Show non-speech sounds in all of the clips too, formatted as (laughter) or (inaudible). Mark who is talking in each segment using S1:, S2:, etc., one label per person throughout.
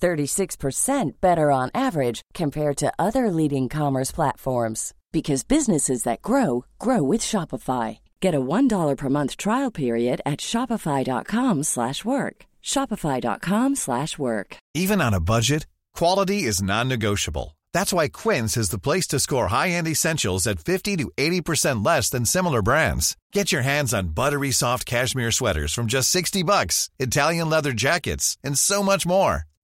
S1: 36% better on average compared to other leading commerce platforms because businesses that grow grow with Shopify. Get a $1 per month trial period at shopify.com/work. shopify.com/work.
S2: Even on a budget, quality is non-negotiable. That's why Quince is the place to score high-end essentials at 50 to 80% less than similar brands. Get your hands on buttery soft cashmere sweaters from just 60 bucks, Italian leather jackets, and so much more.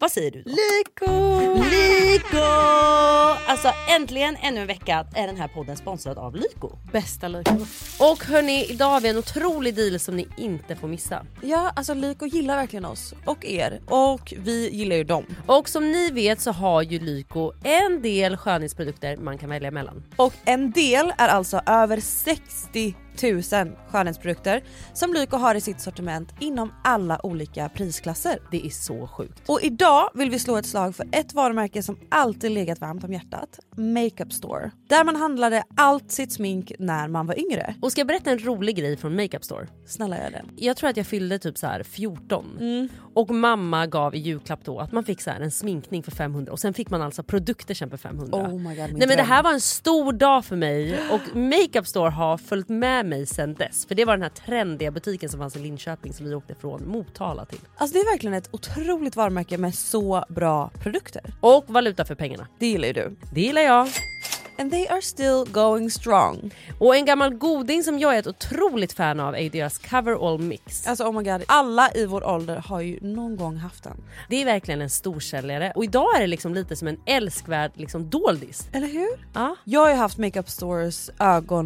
S3: vad säger du då?
S4: Liko!
S3: Lyko! Alltså äntligen ännu en vecka är den här podden sponsrad av Lyko.
S4: Bästa Liko. Och hörni, idag har vi en otrolig deal som ni inte får missa.
S5: Ja, alltså Lyko gillar verkligen oss och er och vi gillar ju dem.
S4: Och som ni vet så har ju Lyko en del skönhetsprodukter man kan välja mellan.
S5: Och en del är alltså över 60 000 skönhetsprodukter som Lyko har i sitt sortiment inom alla olika prisklasser.
S4: Det är så sjukt.
S5: Och idag vill vi slå ett slag för ett varumärke som alltid legat varmt om hjärtat, Makeup Store. Där man handlade allt sitt smink när man var yngre.
S4: Och ska jag berätta en rolig grej från Makeup Store?
S5: Snälla gör det.
S4: Jag tror att jag fyllde typ så här 14
S5: Mm.
S4: och mamma gav i julklapp då att man fick så här en sminkning för 500 och sen fick man alltså produkter sen för 500.
S5: Oh my God, min
S4: Nej men det
S5: dröm.
S4: här var en stor dag för mig och Makeup Store har följt med mig sen dess. För det var den här trendiga butiken som fanns i Linköping som vi åkte från Motala till.
S5: Alltså det är verkligen ett otroligt varumärke med så bra produkter.
S4: Och valuta för pengarna.
S5: Det gillar ju du.
S4: Det gillar jag.
S5: And they are still going strong.
S4: Och en gammal goding som jag är ett otroligt fan av är ju deras cover all mix.
S5: Alltså oh my god, alla i vår ålder har ju någon gång haft den.
S4: Det är verkligen en storsäljare och idag är det liksom lite som en älskvärd liksom doldis.
S5: Eller hur?
S4: Ja.
S5: Jag har ju haft Makeup Stores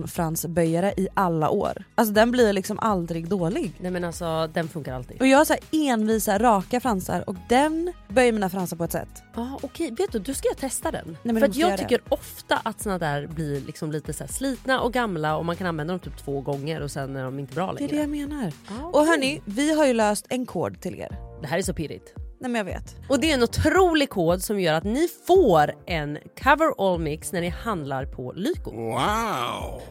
S5: ögonfransböjare i alla år. Alltså den blir liksom aldrig dålig.
S4: Nej men alltså den funkar alltid.
S5: Och jag har så här envisa raka fransar och den böjer mina fransar på ett sätt.
S4: Ja Ah, okej, vet du, du ska jag testa den.
S5: men du
S4: För att
S5: måste
S4: jag
S5: göra det.
S4: tycker ofta att såna där blir liksom lite så här slitna och gamla och man kan använda dem typ två gånger och sen är de inte bra
S5: Det är
S4: längre.
S5: det jag menar.
S4: okej.
S5: Och hörni, vi har ju löst en kod till er.
S4: det här är så pirrigt.
S5: Nej men jag vet.
S4: Och det är en otrolig kod som gör att ni får en cover all mix när ni handlar på Lyko.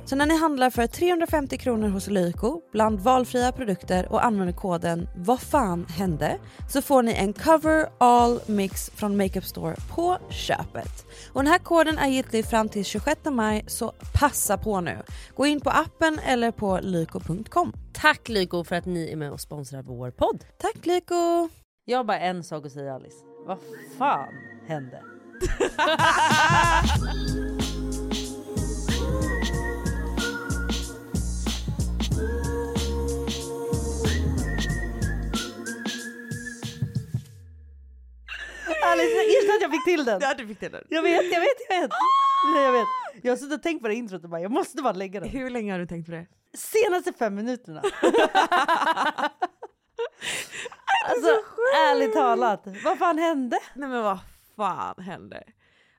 S5: Så när ni handlar för 350 kronor hos Lyko bland valfria produkter och använder koden Vad fan hände? Så får ni en cover all mix från Makeup Store på köpet. Och den här koden är giltig fram till 26 maj så passa på nu. Gå in på appen eller på lyko.com.
S4: Tack Lyko för att ni är med och sponsrar vår podd.
S5: Tack Lyko!
S3: Jag har bara en sak att säga Alice. Vad fan hände? Alice, erkänn att jag fick till den.
S5: du fick till den.
S3: Jag vet, jag vet, jag vet. Nej, jag vet. Jag har suttit och tänkt på det här introt och bara, jag måste bara lägga den.
S5: (laughs) Hur länge har du tänkt på (laughs) det?
S3: Senaste fem minuterna. Alltså ärligt talat, vad fan hände?
S6: Nej men vad fan hände?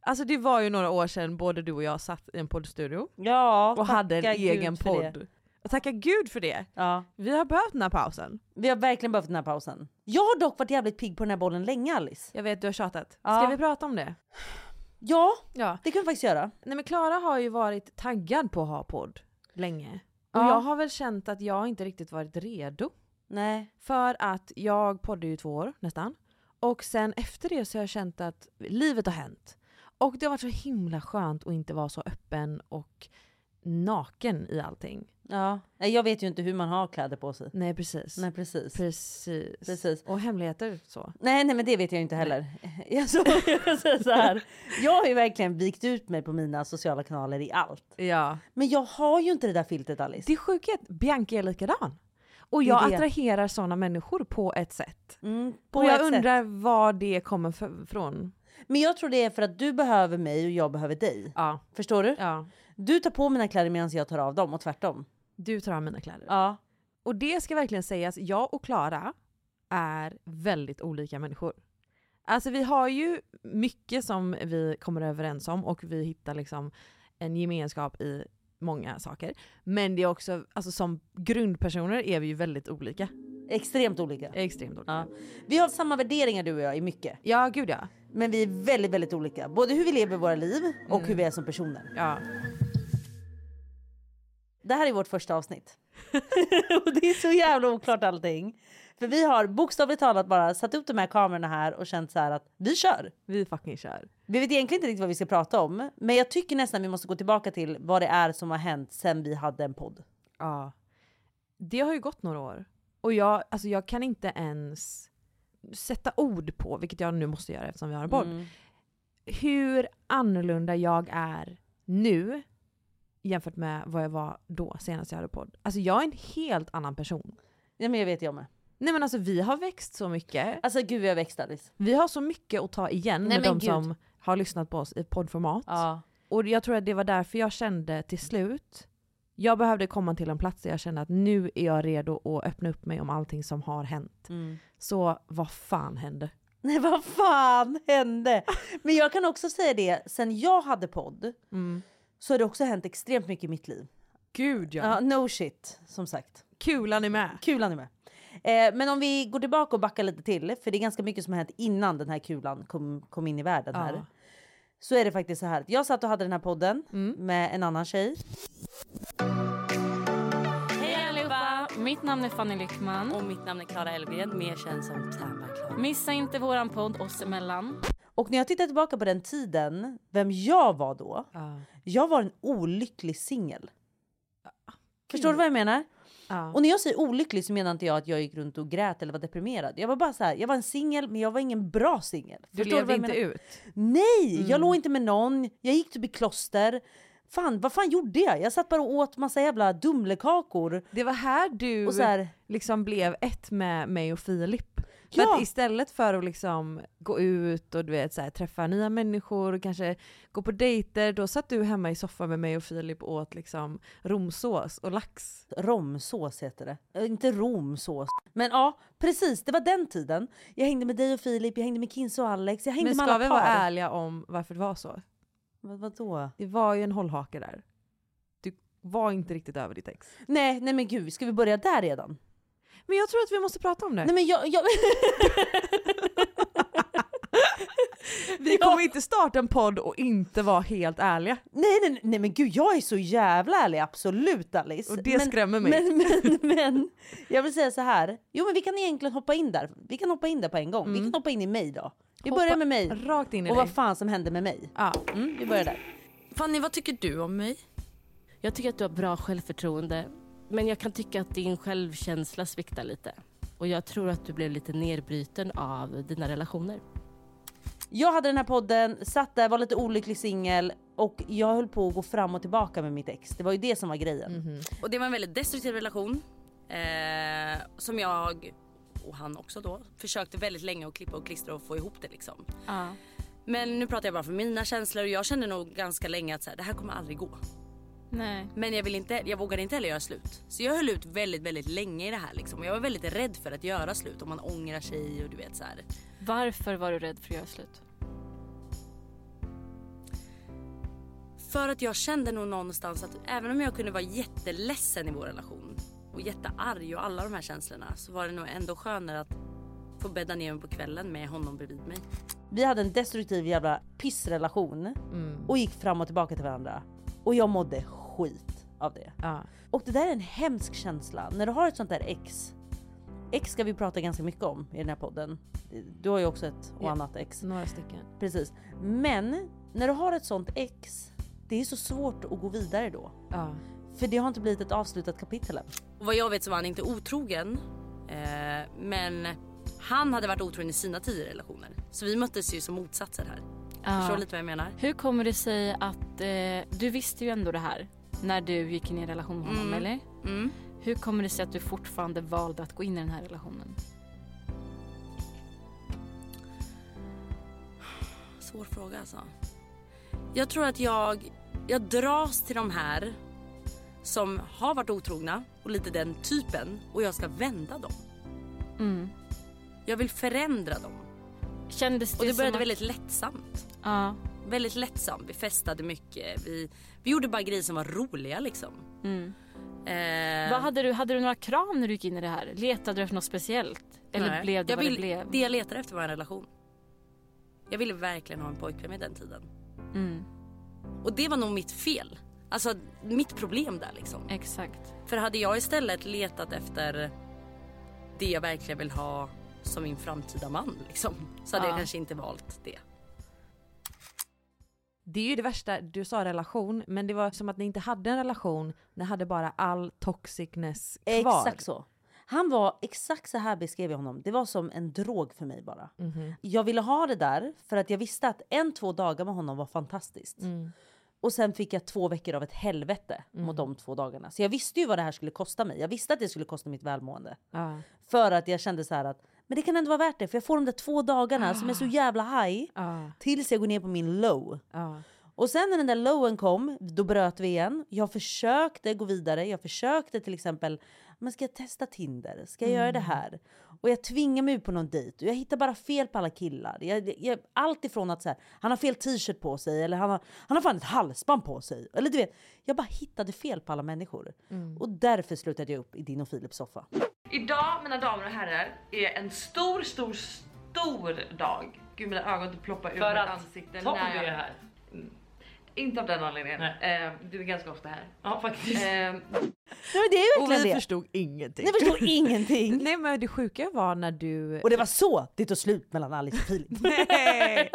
S6: Alltså det var ju några år sedan både du och jag satt i en poddstudio
S3: Ja,
S6: och hade en
S3: tacka Gud
S6: egen
S3: för det.
S6: podd. Och tacka gud för det!
S3: Ja,
S6: Vi har behövt den här pausen.
S3: vi har verkligen behövt den här pausen. Jag har dock varit jävligt pigg på den här bollen länge Alice.
S6: Jag vet du har tjatat.
S3: Ja.
S6: Ska vi prata om det?
S3: Ja,
S6: Ja.
S3: det kan vi faktiskt göra.
S6: Nej men Klara har ju varit taggad på att ha podd länge. Och
S3: Ja.
S6: jag har väl känt att jag inte riktigt varit redo.
S4: Nej.
S5: För att jag poddade ju två år nästan. Och sen efter det så har jag känt att livet har hänt. Och det har varit så himla skönt att inte vara så öppen och naken i allting.
S4: Ja. Nej, jag vet ju inte hur man har kläder på sig.
S5: Nej precis.
S4: Nej precis.
S5: Precis.
S4: Precis.
S5: Och hemligheter så.
S4: Nej, nej men det vet jag ju inte heller. Jag, så, (laughs) jag säger så här. Jag har ju verkligen vikt ut mig på mina sociala kanaler i allt.
S5: Ja.
S4: Men jag har ju inte det där filtret Alice.
S5: Det är sjukhet. Bianca är likadan. Och
S4: Det är
S5: jag
S4: det.
S5: attraherar sådana människor på ett sätt.
S4: Mm,
S5: och
S4: ett
S5: jag
S4: sätt.
S5: undrar var det kommer f- från.
S4: Men jag tror det är för att du behöver mig och jag behöver dig.
S5: Ja.
S4: Förstår du?
S5: ja.
S4: Du tar på mina kläder medan jag tar av dem och tvärtom.
S5: Du tar av mina kläder.
S4: Ja.
S5: Och det ska verkligen sägas, jag och Klara är väldigt olika människor. Alltså vi har ju mycket som vi kommer överens om och vi hittar liksom en gemenskap i många saker. Men det är också, alltså som grundpersoner är vi ju väldigt olika.
S4: Extremt olika.
S5: Extremt olika.
S4: Ja. Vi har samma värderingar du och jag i mycket.
S5: Ja, gud ja.
S4: Men vi är väldigt, väldigt olika. Både hur vi lever våra liv och hur vi är som personer.
S5: ja.
S4: Det här är vårt första avsnitt. och det är så jävla oklart allting. För vi har bokstavligt talat bara satt upp de här kamerorna här och känt så här att vi kör.
S5: Vi fucking kör.
S4: Vi vet egentligen inte riktigt vad vi ska prata om, men jag tycker nästan vi måste gå tillbaka till vad det är som har hänt sen vi hade en podd.
S5: Ja. Det har ju gått några år. Och jag, alltså jag kan inte ens sätta ord på, vilket jag nu måste göra eftersom vi har en podd,
S4: Mm.
S5: hur annorlunda jag är nu jämfört med vad jag var då senast jag hade podd. Alltså jag är en helt annan person.
S4: Ja, men jag vet jag med.
S5: Nej men alltså vi har växt så mycket.
S4: Alltså gud, jag växte Alice.
S5: Vi har så mycket att ta igen
S4: Nej,
S5: med
S4: men
S5: de
S4: gud.
S5: som har lyssnat på oss i poddformat. Och jag tror att det var därför jag kände till slut, jag behövde komma till en plats där jag kände att nu är jag redo att öppna upp mig om allting som har hänt.
S4: Mm.
S5: Så vad fan hände?
S4: Nej, vad fan hände? Men jag kan också säga det, sen jag hade podd så har det också hänt extremt mycket i mitt liv.
S5: Gud
S4: Ja, no shit, som sagt.
S5: Kulan är med.
S4: Kulan är med. Eh, men om vi går tillbaka och backar lite till, för det är ganska mycket som har hänt innan den här kulan kom, kom in i världen här. Så är det faktiskt så här, jag satt och hade den här podden
S7: Mm.
S4: med en annan tjej.
S7: Hej allihopa! Mitt namn är Fanny Lyckman.
S8: Och mitt namn är Klara Elvgren, mer känd som Tärnberg
S7: Missa inte våran podd oss emellan.
S4: Och när jag tittar tillbaka på den tiden, vem jag var då. Jag var en olycklig singel.
S5: Ah,
S4: Förstår du vad jag menar? Och när jag säger olycklig så menar inte jag att jag gick runt och grät eller var deprimerad. Jag var bara så här, jag var en singel men jag var ingen bra singel.
S5: Du
S4: Förstår
S5: levde
S4: vad jag
S5: inte
S4: menar?
S5: ut. Mm.
S4: Nej, jag låg inte med någon. Jag gick typ i kloster. Fan, vad fan gjorde jag? Jag satt bara och åt massa jävla Dumlekakor.
S5: Det var här du
S4: Och så här,
S5: liksom blev ett med mig och Filip. För
S4: Ja.
S5: att istället för att liksom gå ut och du vet, så här, träffa nya människor och kanske gå på dejter, då satt du hemma i soffan med mig och Filip och åt liksom romsås och lax.
S4: romsås heter det. Eh, Inte romsås. Men ja, precis. Det var den tiden. Jag hängde med dig och Filip, jag hängde med Kinse och Alex. Jag hängde
S5: Men
S4: med
S5: ska
S4: alla par.
S5: vi vara ärliga om varför det var så?
S4: Vad, vadå?
S5: Det var ju en hållhake där. Du var inte riktigt över ditt ex.
S4: Nej, nej men gud, ska vi börja där redan?
S5: Men jag tror att vi måste prata om det.
S4: Nej men jag... jag...
S5: (laughs) (laughs) vi kommer inte starta en podd och inte vara helt ärliga.
S4: Nej, nej, nej men gud jag är så jävla ärlig, absolut Alice.
S5: Och det
S4: men,
S5: skrämmer mig.
S4: Men,
S5: (laughs)
S4: men, men jag vill säga så här. Jo men vi kan egentligen hoppa in där. Vi kan hoppa in där på en gång. Vi kan hoppa in i mig då. Vi börjar med mig.
S5: Mm. Rakt in i
S4: Och
S5: dig.
S4: vad fan som hände med mig.
S5: Ja.
S4: Mm, vi börjar där.
S7: Fanny, vad tycker du om mig?
S9: Jag tycker att du har bra självförtroende, men jag kan tycka att din självkänsla sviktar lite. Och jag tror att du blev lite nedbruten av dina relationer.
S4: Jag hade den här podden, satt där, var lite olycklig singel och jag höll på att gå fram och tillbaka med mitt ex. Det var ju det som var grejen.
S9: Och det var en väldigt destruktiv relation eh, som jag, och han också då, försökte väldigt länge att klippa och klistra och få ihop det liksom. Men nu pratar jag bara för mina känslor och jag kände nog ganska länge att så här, det här kommer aldrig gå.
S7: Nej.
S9: Men jag, vill inte, jag vågade inte heller göra slut. Så jag höll ut väldigt, väldigt länge i det här liksom. Och jag var väldigt rädd för att göra slut om man ångrar sig och du vet så här.
S7: Varför var du rädd för att göra slut?
S9: För att jag kände nog någonstans att även om jag kunde vara jätteledsen i vår relation och jättearg och alla de här känslorna så var det nog ändå skönare att få bädda ner mig på kvällen med honom bredvid mig.
S4: Vi hade en destruktiv jävla pissrelation
S5: Mm.
S4: och gick fram och tillbaka till varandra. Och jag mådde skit av det.
S5: Ja.
S4: Och det där är en hemsk känsla. När du har ett sånt där ex Ex ska vi prata ganska mycket om i den här podden. Du har ju också ett och
S5: Ja.
S4: annat ex.
S5: Några stycken.
S4: Precis. Men när du har ett sånt ex, det är så svårt att gå vidare då.
S5: Ja.
S4: För det har inte blivit ett avslutat kapitel än.
S9: Och vad jag vet så var han inte otrogen. Eh, men han hade varit otrogen i sina tio relationer. Så vi möttes ju som motsatser här.
S7: Ja.
S9: Förstår lite vad jag menar?
S7: Hur kommer det sig att... Eh, du visste ju ändå det här när du gick in i en relation med honom,
S9: Mm.
S7: eller?
S9: Mm.
S7: Hur kommer det sig att du fortfarande valde att gå in i den här relationen?
S9: Svår fråga alltså. Jag tror att jag, jag dras till de här som har varit otrogna och lite den typen och jag ska vända dem.
S7: Mm.
S9: Jag vill förändra dem.
S7: Kändes det
S9: Och det
S7: som
S9: började
S7: att-
S9: väldigt lättsamt.
S7: Ja.
S9: Väldigt lättsamt. Vi festade mycket. Vi, vi gjorde bara grejer som var roliga liksom.
S7: Mm.
S9: Eh,
S7: Vad hade, du, hade du några krav när du gick in i det här? Letade du efter något speciellt? Eller
S9: nej.
S7: blev det
S9: jag
S7: vad
S9: vill,
S7: det blev?
S9: Det jag letade efter var en relation. Jag ville verkligen ha en pojkvän vid den tiden.
S7: Mm.
S9: Och det var nog mitt fel. Alltså mitt problem där liksom.
S7: Exakt.
S9: För hade jag istället letat efter det jag verkligen vill ha som min framtida man liksom, så hade
S7: Ja.
S9: jag kanske inte valt det.
S5: Det är ju det värsta, du sa relation, men det var som att ni inte hade en relation, ni hade bara all toxicness kvar.
S4: Exakt så. Han var exakt så här beskrev jag honom. Det var som en drog för mig bara. Jag ville ha det där för att jag visste att en, två dagar med honom var fantastiskt. Och sen fick jag två veckor av ett helvete mot de två dagarna. Så jag visste ju vad det här skulle kosta mig. Jag visste att det skulle kosta mitt välmående.
S5: Ja.
S4: För att jag kände så här att men det kan ändå vara värt det för jag får de där två dagarna som är så jävla high
S5: Ja.
S4: tills jag går ner på min low.
S5: Ja.
S4: Och sen när den där lowen kom, då bröt vi igen. Jag försökte gå vidare. Jag försökte till exempel, men ska jag testa Tinder? Ska jag göra det här? Och jag tvingar mig ut på någon dejt och jag hittar bara fel på alla killar. Jag, jag, allt ifrån att så här, han har fel t-shirt på sig eller han har, han har fan ett halsband på sig. Eller du vet, jag bara hittade fel på alla människor. Och därför slutade jag upp i din och Filips soffa.
S10: Idag mina damer och herrar är en stor, stor, stor dag. Gud mina ögon typ ploppar ur
S11: För
S10: mitt
S11: att
S10: ansikte.
S11: Tom
S10: när jag- Mm.
S11: är här.
S10: Inte av den anledningen. Eh, du är ganska ofta här.
S11: Ja faktiskt.
S10: Eh,
S4: Nej, men det är
S5: (laughs) Och
S4: verkligen
S5: vi
S4: det.
S5: förstod ingenting.
S4: Ni
S5: (laughs)
S4: förstår ingenting.
S5: Nej men det sjuka var när du...
S4: (laughs) Och det var så det tog slut mellan Alice och Filip.
S5: (laughs) Nej!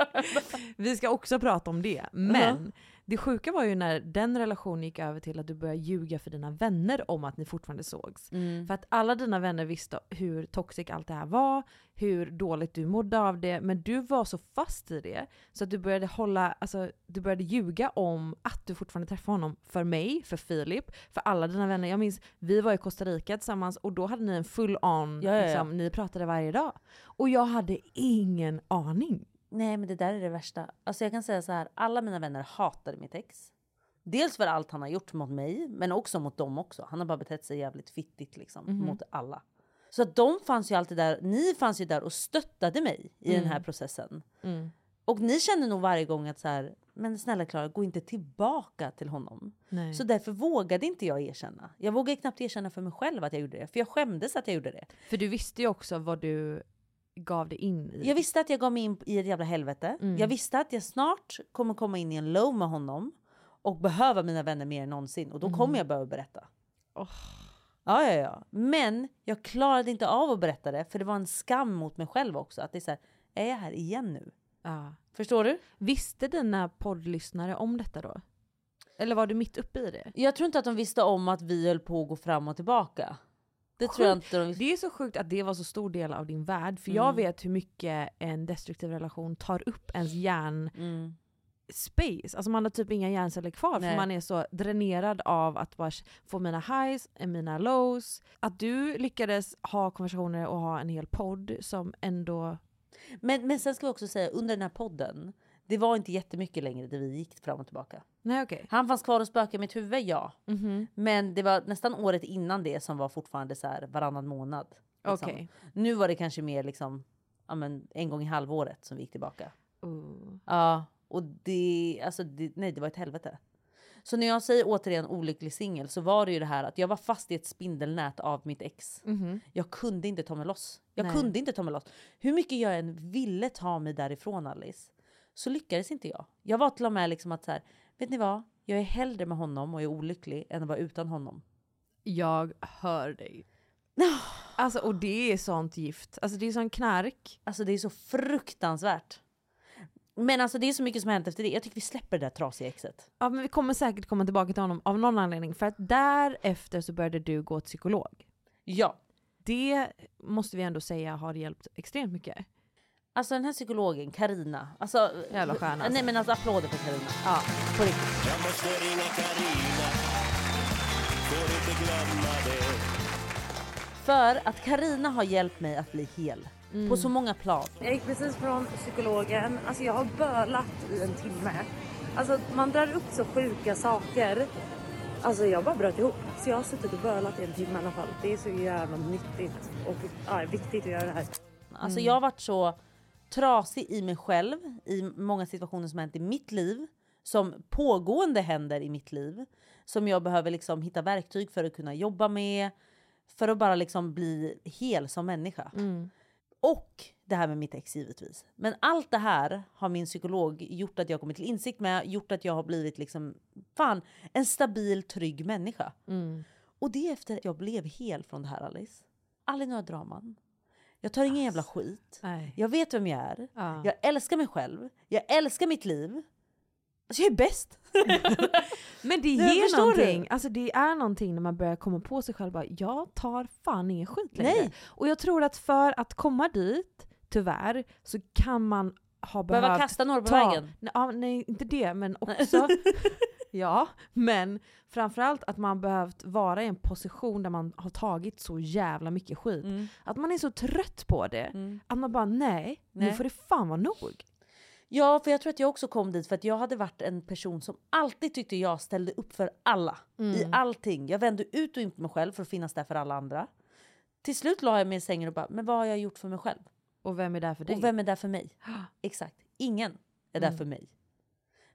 S5: Vi ska också prata om det. Men
S10: Uh-huh.
S5: det sjuka var ju när den relationen gick över till att du började ljuga för dina vänner om att ni fortfarande sågs.
S4: Mm.
S5: För att alla dina vänner visste hur toxic allt det här var, hur dåligt du mådde av det, men du var så fast i det så att du började hålla, alltså du började ljuga om att du fortfarande träffade honom. För mig, för Filip, för alla dina vänner. Jag minns, vi var i Costa Rica tillsammans och då hade ni en full on,
S4: Ja, ja, ja.
S5: Liksom, ni pratade varje dag. Och jag hade ingen aning.
S4: Nej, men det där är det värsta. Alltså jag kan säga så här, alla mina vänner hatade mitt ex. Dels för allt han har gjort mot mig, men också mot dem också. Han har bara betett sig jävligt fittigt liksom, mot alla. Så att de fanns ju alltid där, ni fanns ju där och stöttade mig i den här processen. Och ni kände nog varje gång att så här, men snälla Klara, gå inte tillbaka till honom.
S5: Nej.
S4: Så därför vågade inte jag erkänna. Jag vågade knappt erkänna för mig själv att jag gjorde det, för jag skämdes att jag gjorde det.
S5: För du visste ju också vad du gav dig in i.
S4: Jag visste att jag gav mig in i ett jävla helvete. Jag visste att jag snart kommer komma in i en low med honom och behöva mina vänner mer än någonsin och då kommer jag behöva berätta. Ja, ja, ja. Men jag klarade inte av att berätta det för det var en skam mot mig själv också. Att det är så här, är jag här igen nu?
S5: Ja.
S4: Förstår du?
S5: Visste dina poddlyssnare om detta då? Eller var du mitt uppe i det?
S4: Jag tror inte att de visste om att vi höll på att gå fram och tillbaka. Det tror jag inte de visste.
S5: Det är så sjukt att det var så stor del av din värld, för jag vet hur mycket en destruktiv relation tar upp ens hjärnspace.
S4: Mm.
S5: Alltså man har typ inga hjärnceller kvar
S4: Nej.
S5: för man är så dränerad av att bara få mina highs, mina lows. Att du lyckades ha konversationer och ha en hel podd som ändå...
S4: Men, men sen ska vi också säga, under den här podden, det var inte jättemycket längre där vi gick fram och tillbaka.
S5: Nej okej.
S4: Han fanns kvar och spökade i mitt huvud, ja.
S5: Mm-hmm.
S4: Men det var nästan året innan det som var fortfarande så här varannan månad. Liksom.
S5: Okej.
S4: Nu var det kanske mer liksom, ja, men en gång i halvåret som vi gick tillbaka. Ja, och det, alltså det, nej det var ett helvete. Så när jag säger återigen olycklig singel så var det ju det här att jag var fast i ett spindelnät av mitt ex.
S5: Mm-hmm.
S4: Jag kunde inte ta mig loss. Jag
S5: Nej.
S4: kunde inte ta mig loss. Hur mycket jag än ville ta mig därifrån Alice så lyckades inte jag. Jag var till och med liksom att så här, vet ni vad? Jag är hellre med honom och är olycklig än att vara utan honom.
S5: Jag hör dig. Alltså och det är sånt gift. Alltså det är sån knark.
S4: Alltså det är så fruktansvärt. Men alltså det är så mycket som har hänt efter det. Jag tycker vi släpper det där trasiga exet.
S5: Ja men vi kommer säkert komma tillbaka till honom av någon anledning. För att därefter så började du gå till psykolog.
S4: Ja.
S5: Det måste vi ändå säga har hjälpt extremt mycket.
S4: Alltså den här psykologen, Karina. Alltså,
S5: Jävla stjärna,
S4: Nej
S5: alltså.
S4: men alltså applåder för Karina.
S5: Ja,
S4: på riktigt.
S11: Jag måste ringa Carina. Får inte glömma det.
S4: För att Karina har hjälpt mig att bli hel. På så många plan.
S12: Jag gick precis från psykologen. Alltså jag har bölat i en timme. Alltså man drar upp så sjuka saker. Alltså jag bara bröt ihop. Så jag har suttit och bölat i en timme i alla fall. Det är så jävla nyttigt och ja, viktigt att göra det här.
S4: Alltså jag har varit så trasig i mig själv i många situationer som har hänt i mitt liv. Som pågående händer i mitt liv. Som jag behöver liksom hitta verktyg för att kunna jobba med. För att bara liksom bli hel som människa.
S5: Mm,
S4: Och det här med mitt ex givetvis. Men allt det här har min psykolog gjort att jag kommit till insikt med. Gjort att jag har blivit liksom, fan, en stabil, trygg människa.
S5: mm.
S4: Och det är efter att jag blev hel från det här Alice. Aldrig några draman. Jag tar ingen jävla skit.
S5: Alltså, Nej.
S4: Jag vet vem jag är.
S5: Ja.
S4: Jag älskar mig själv. Jag älskar mitt liv. Alltså jag är
S5: (laughs)
S4: bäst.
S5: Men det
S4: Nej,
S5: ger
S4: förstår du?
S5: någonting. Alltså det är någonting när man börjar komma på sig själv bara, jag tar fan ingen skit längre.
S4: Nej.
S5: Och jag tror att för att komma dit, tyvärr, så kan man ha
S4: Behöva
S5: behövt
S4: kasta några på
S5: ta-
S4: vägen.
S5: Nej, ja, nej, inte det, men
S4: (laughs)
S5: också... ja, men framförallt att man behövt vara i en position där man har tagit så jävla mycket skit.
S4: Mm.
S5: Att man är så trött på det, att man bara nej, nu
S4: Nej.
S5: får det fan vara nog.
S4: Ja, för jag tror att jag också kom dit för att jag hade varit en person som alltid tyckte jag ställde upp för alla. I
S5: Mm.
S4: allting. Jag vände ut och in på mig själv för att finnas där för alla andra. Till slut la jag mig i sängen och bara, men vad har jag gjort för mig själv?
S5: Och vem är där för dig? Mm.
S4: Och vem är där för
S5: (gasps)
S4: mig? Exakt. Ingen är där för mig.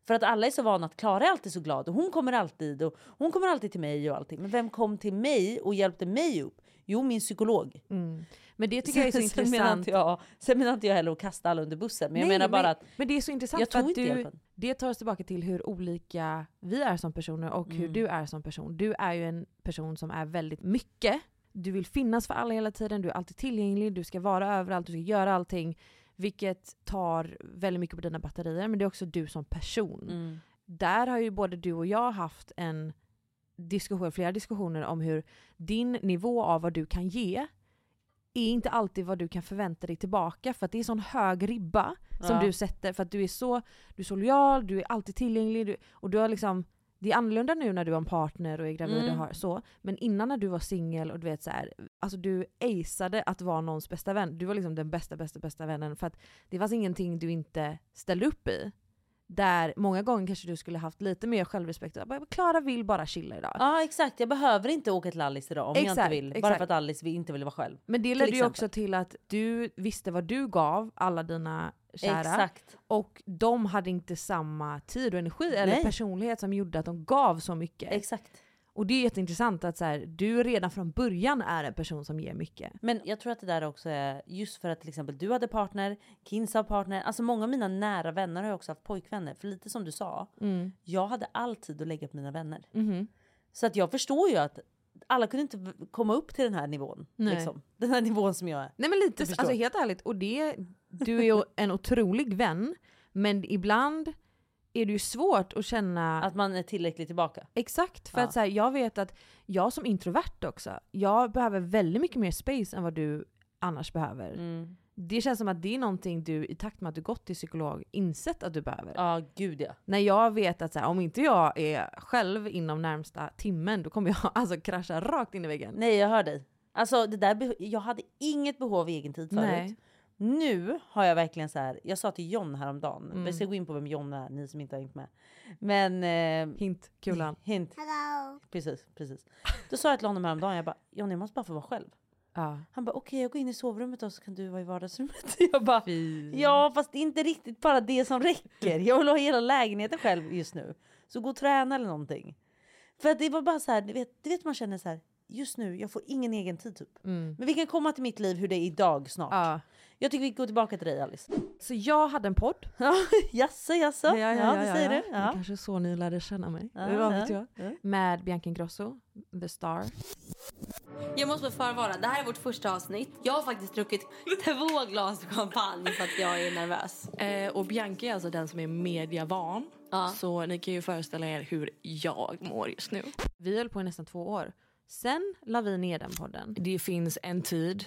S4: För att alla är så vana att Klara är alltid så glad och hon kommer alltid och hon kommer alltid till mig och allting. Men vem kom till mig och hjälpte mig upp? Jo, min psykolog.
S5: Mm. Men det tycker jag är
S4: (laughs)
S5: så
S4: sen menar
S5: intressant.
S4: inte jag, sen menar inte jag heller att kasta alla under bussen. Men jag
S5: Nej,
S4: menar bara
S5: men,
S4: att
S5: Men det är så intressant
S4: jag
S5: för
S4: tog
S5: att
S4: inte
S5: du,
S4: hjälpen.
S5: det tar oss tillbaka till hur olika vi är som personer och hur
S4: Mm.
S5: du är som person. Du är ju en person som är väldigt mycket. Du vill finnas för alla hela tiden, du är alltid tillgänglig, du ska vara överallt, du ska göra allting. Vilket tar väldigt mycket på dina batterier, men det är också du som person.
S4: Mm.
S5: Där har ju både du och jag haft en diskussion, flera diskussioner om hur din nivå av vad du kan ge är inte alltid vad du kan förvänta dig tillbaka för att det är sån hög ribba som
S4: Ja.
S5: du sätter för att du är så, du är så lojal, du är alltid tillgänglig du, och du har liksom det är annorlunda nu när du har en partner och är gravid och
S4: Mm.
S5: har så, men innan när du var singel och du vet så här, alltså du aceade att vara någons bästa vän. Du var liksom den bästa, bästa, bästa vännen för att det fanns ingenting du inte ställde upp i. Där många gånger kanske du skulle haft lite mer självrespekt. Jag bara, Klara vill bara chilla idag.
S4: Ja exakt, jag behöver inte åka till Alice idag om jag
S5: Exakt,
S4: inte vill. Bara
S5: exakt.
S4: för att Alice vill- inte vill vara själv.
S5: Men det
S4: Till
S5: ledde ju
S4: exempel.
S5: också till att du visste vad du gav alla dina kära.
S4: Exakt.
S5: Och de hade inte samma tid och energi eller
S4: Nej.
S5: personlighet som gjorde att de gav så mycket.
S4: Exakt.
S5: och det är jätteintressant att så här, du redan från början är en person som ger mycket.
S4: Men jag tror att det där också är just för att till exempel du hade partner, Kins har partner. Alltså många av mina nära vänner har ju också haft pojkvänner. För lite som du sa,
S5: Mm.
S4: jag hade all tid att lägga på mina vänner. Så att jag förstår ju att alla kunde inte v- komma upp till den här nivån.
S5: Nej.
S4: Liksom. (laughs) Den här nivån som jag är.
S5: Nej men lite,
S4: Jag
S5: så-
S4: förstår.
S5: alltså helt ärligt. Och det, du är ju en otrolig vän, men ibland är det ju svårt att känna
S4: Att man är tillräckligt tillbaka.
S5: Exakt, för
S4: Ja.
S5: att så här, jag vet att jag som introvert också, jag behöver väldigt mycket mer space än vad du annars behöver.
S4: Mm.
S5: Det känns som att det är någonting du i takt med att du gått till psykolog insett att du behöver.
S4: Ja, gud ja.
S5: När jag vet att så här, om inte jag är själv inom närmsta timmen då kommer jag (laughs) alltså krascha rakt in i väggen.
S4: Nej, jag hör dig. Alltså, det där, beh- jag hade inget behov av egen tid förut.
S5: Nej.
S4: Nu har jag verkligen så här. Jag sa till John häromdagen. Vi ska gå in på vem John är, ni som inte har hängt med. Men... Eh,
S5: Hint, kulan.
S4: hint. Precis, precis. Då sa jag till honom häromdagen, jag bara John jag måste bara få vara själv.
S5: Ja.
S4: Han bara okej jag går in i sovrummet och så kan du vara i vardagsrummet. (laughs) Jag bara ja fast det är inte riktigt bara det som räcker. Jag vill ha hela lägenheten själv just nu. Så gå och träna eller någonting. För att det var bara så här, du vet, du vet man känner så här just nu jag får ingen egen tid typ. Men vi kan komma till mitt liv hur det är idag snart.
S5: Ja.
S4: Jag tycker vi går tillbaka till dig Alice.
S5: Så jag hade en podd.
S4: (laughs) Jaså jaså? Ja, det säger du.
S5: alltså. Det är
S4: Ja.
S5: kanske är så ni lärde känna mig.
S4: Ja,
S5: Vad vet
S4: ja,
S5: jag?
S4: ja.
S5: Med Bianca Ingrosso, The Star.
S13: Jag måste förvara. Det här är vårt första avsnitt. Jag har faktiskt
S5: (laughs)
S13: druckit två glas champagne för att jag är nervös.
S14: Eh, och Bianca är alltså den som är mediavan. Så ni kan ju föreställa er hur jag mår just nu.
S5: Vi höll på i nästan två år. Sen la vi ner den podden.
S14: Det finns en tid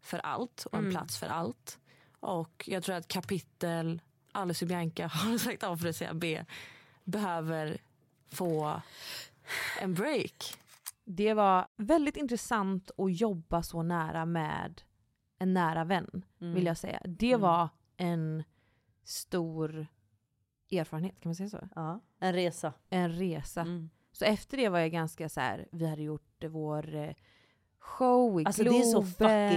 S14: för allt och en
S5: Mm.
S14: plats för allt. Och jag tror att kapitel Alice och Bianca har (laughs) sagt A för att säga B behöver få en break.
S5: Det var väldigt intressant att jobba så nära med en nära vän,
S14: Mm.
S5: vill jag säga. Det
S4: Mm.
S5: var en stor erfarenhet, kan man säga så?
S4: En resa.
S5: En resa.
S14: Mm.
S5: Så efter det var jag ganska så här, vi hade gjort eh, vår eh, show i
S4: Alltså det
S5: Globen.
S4: är så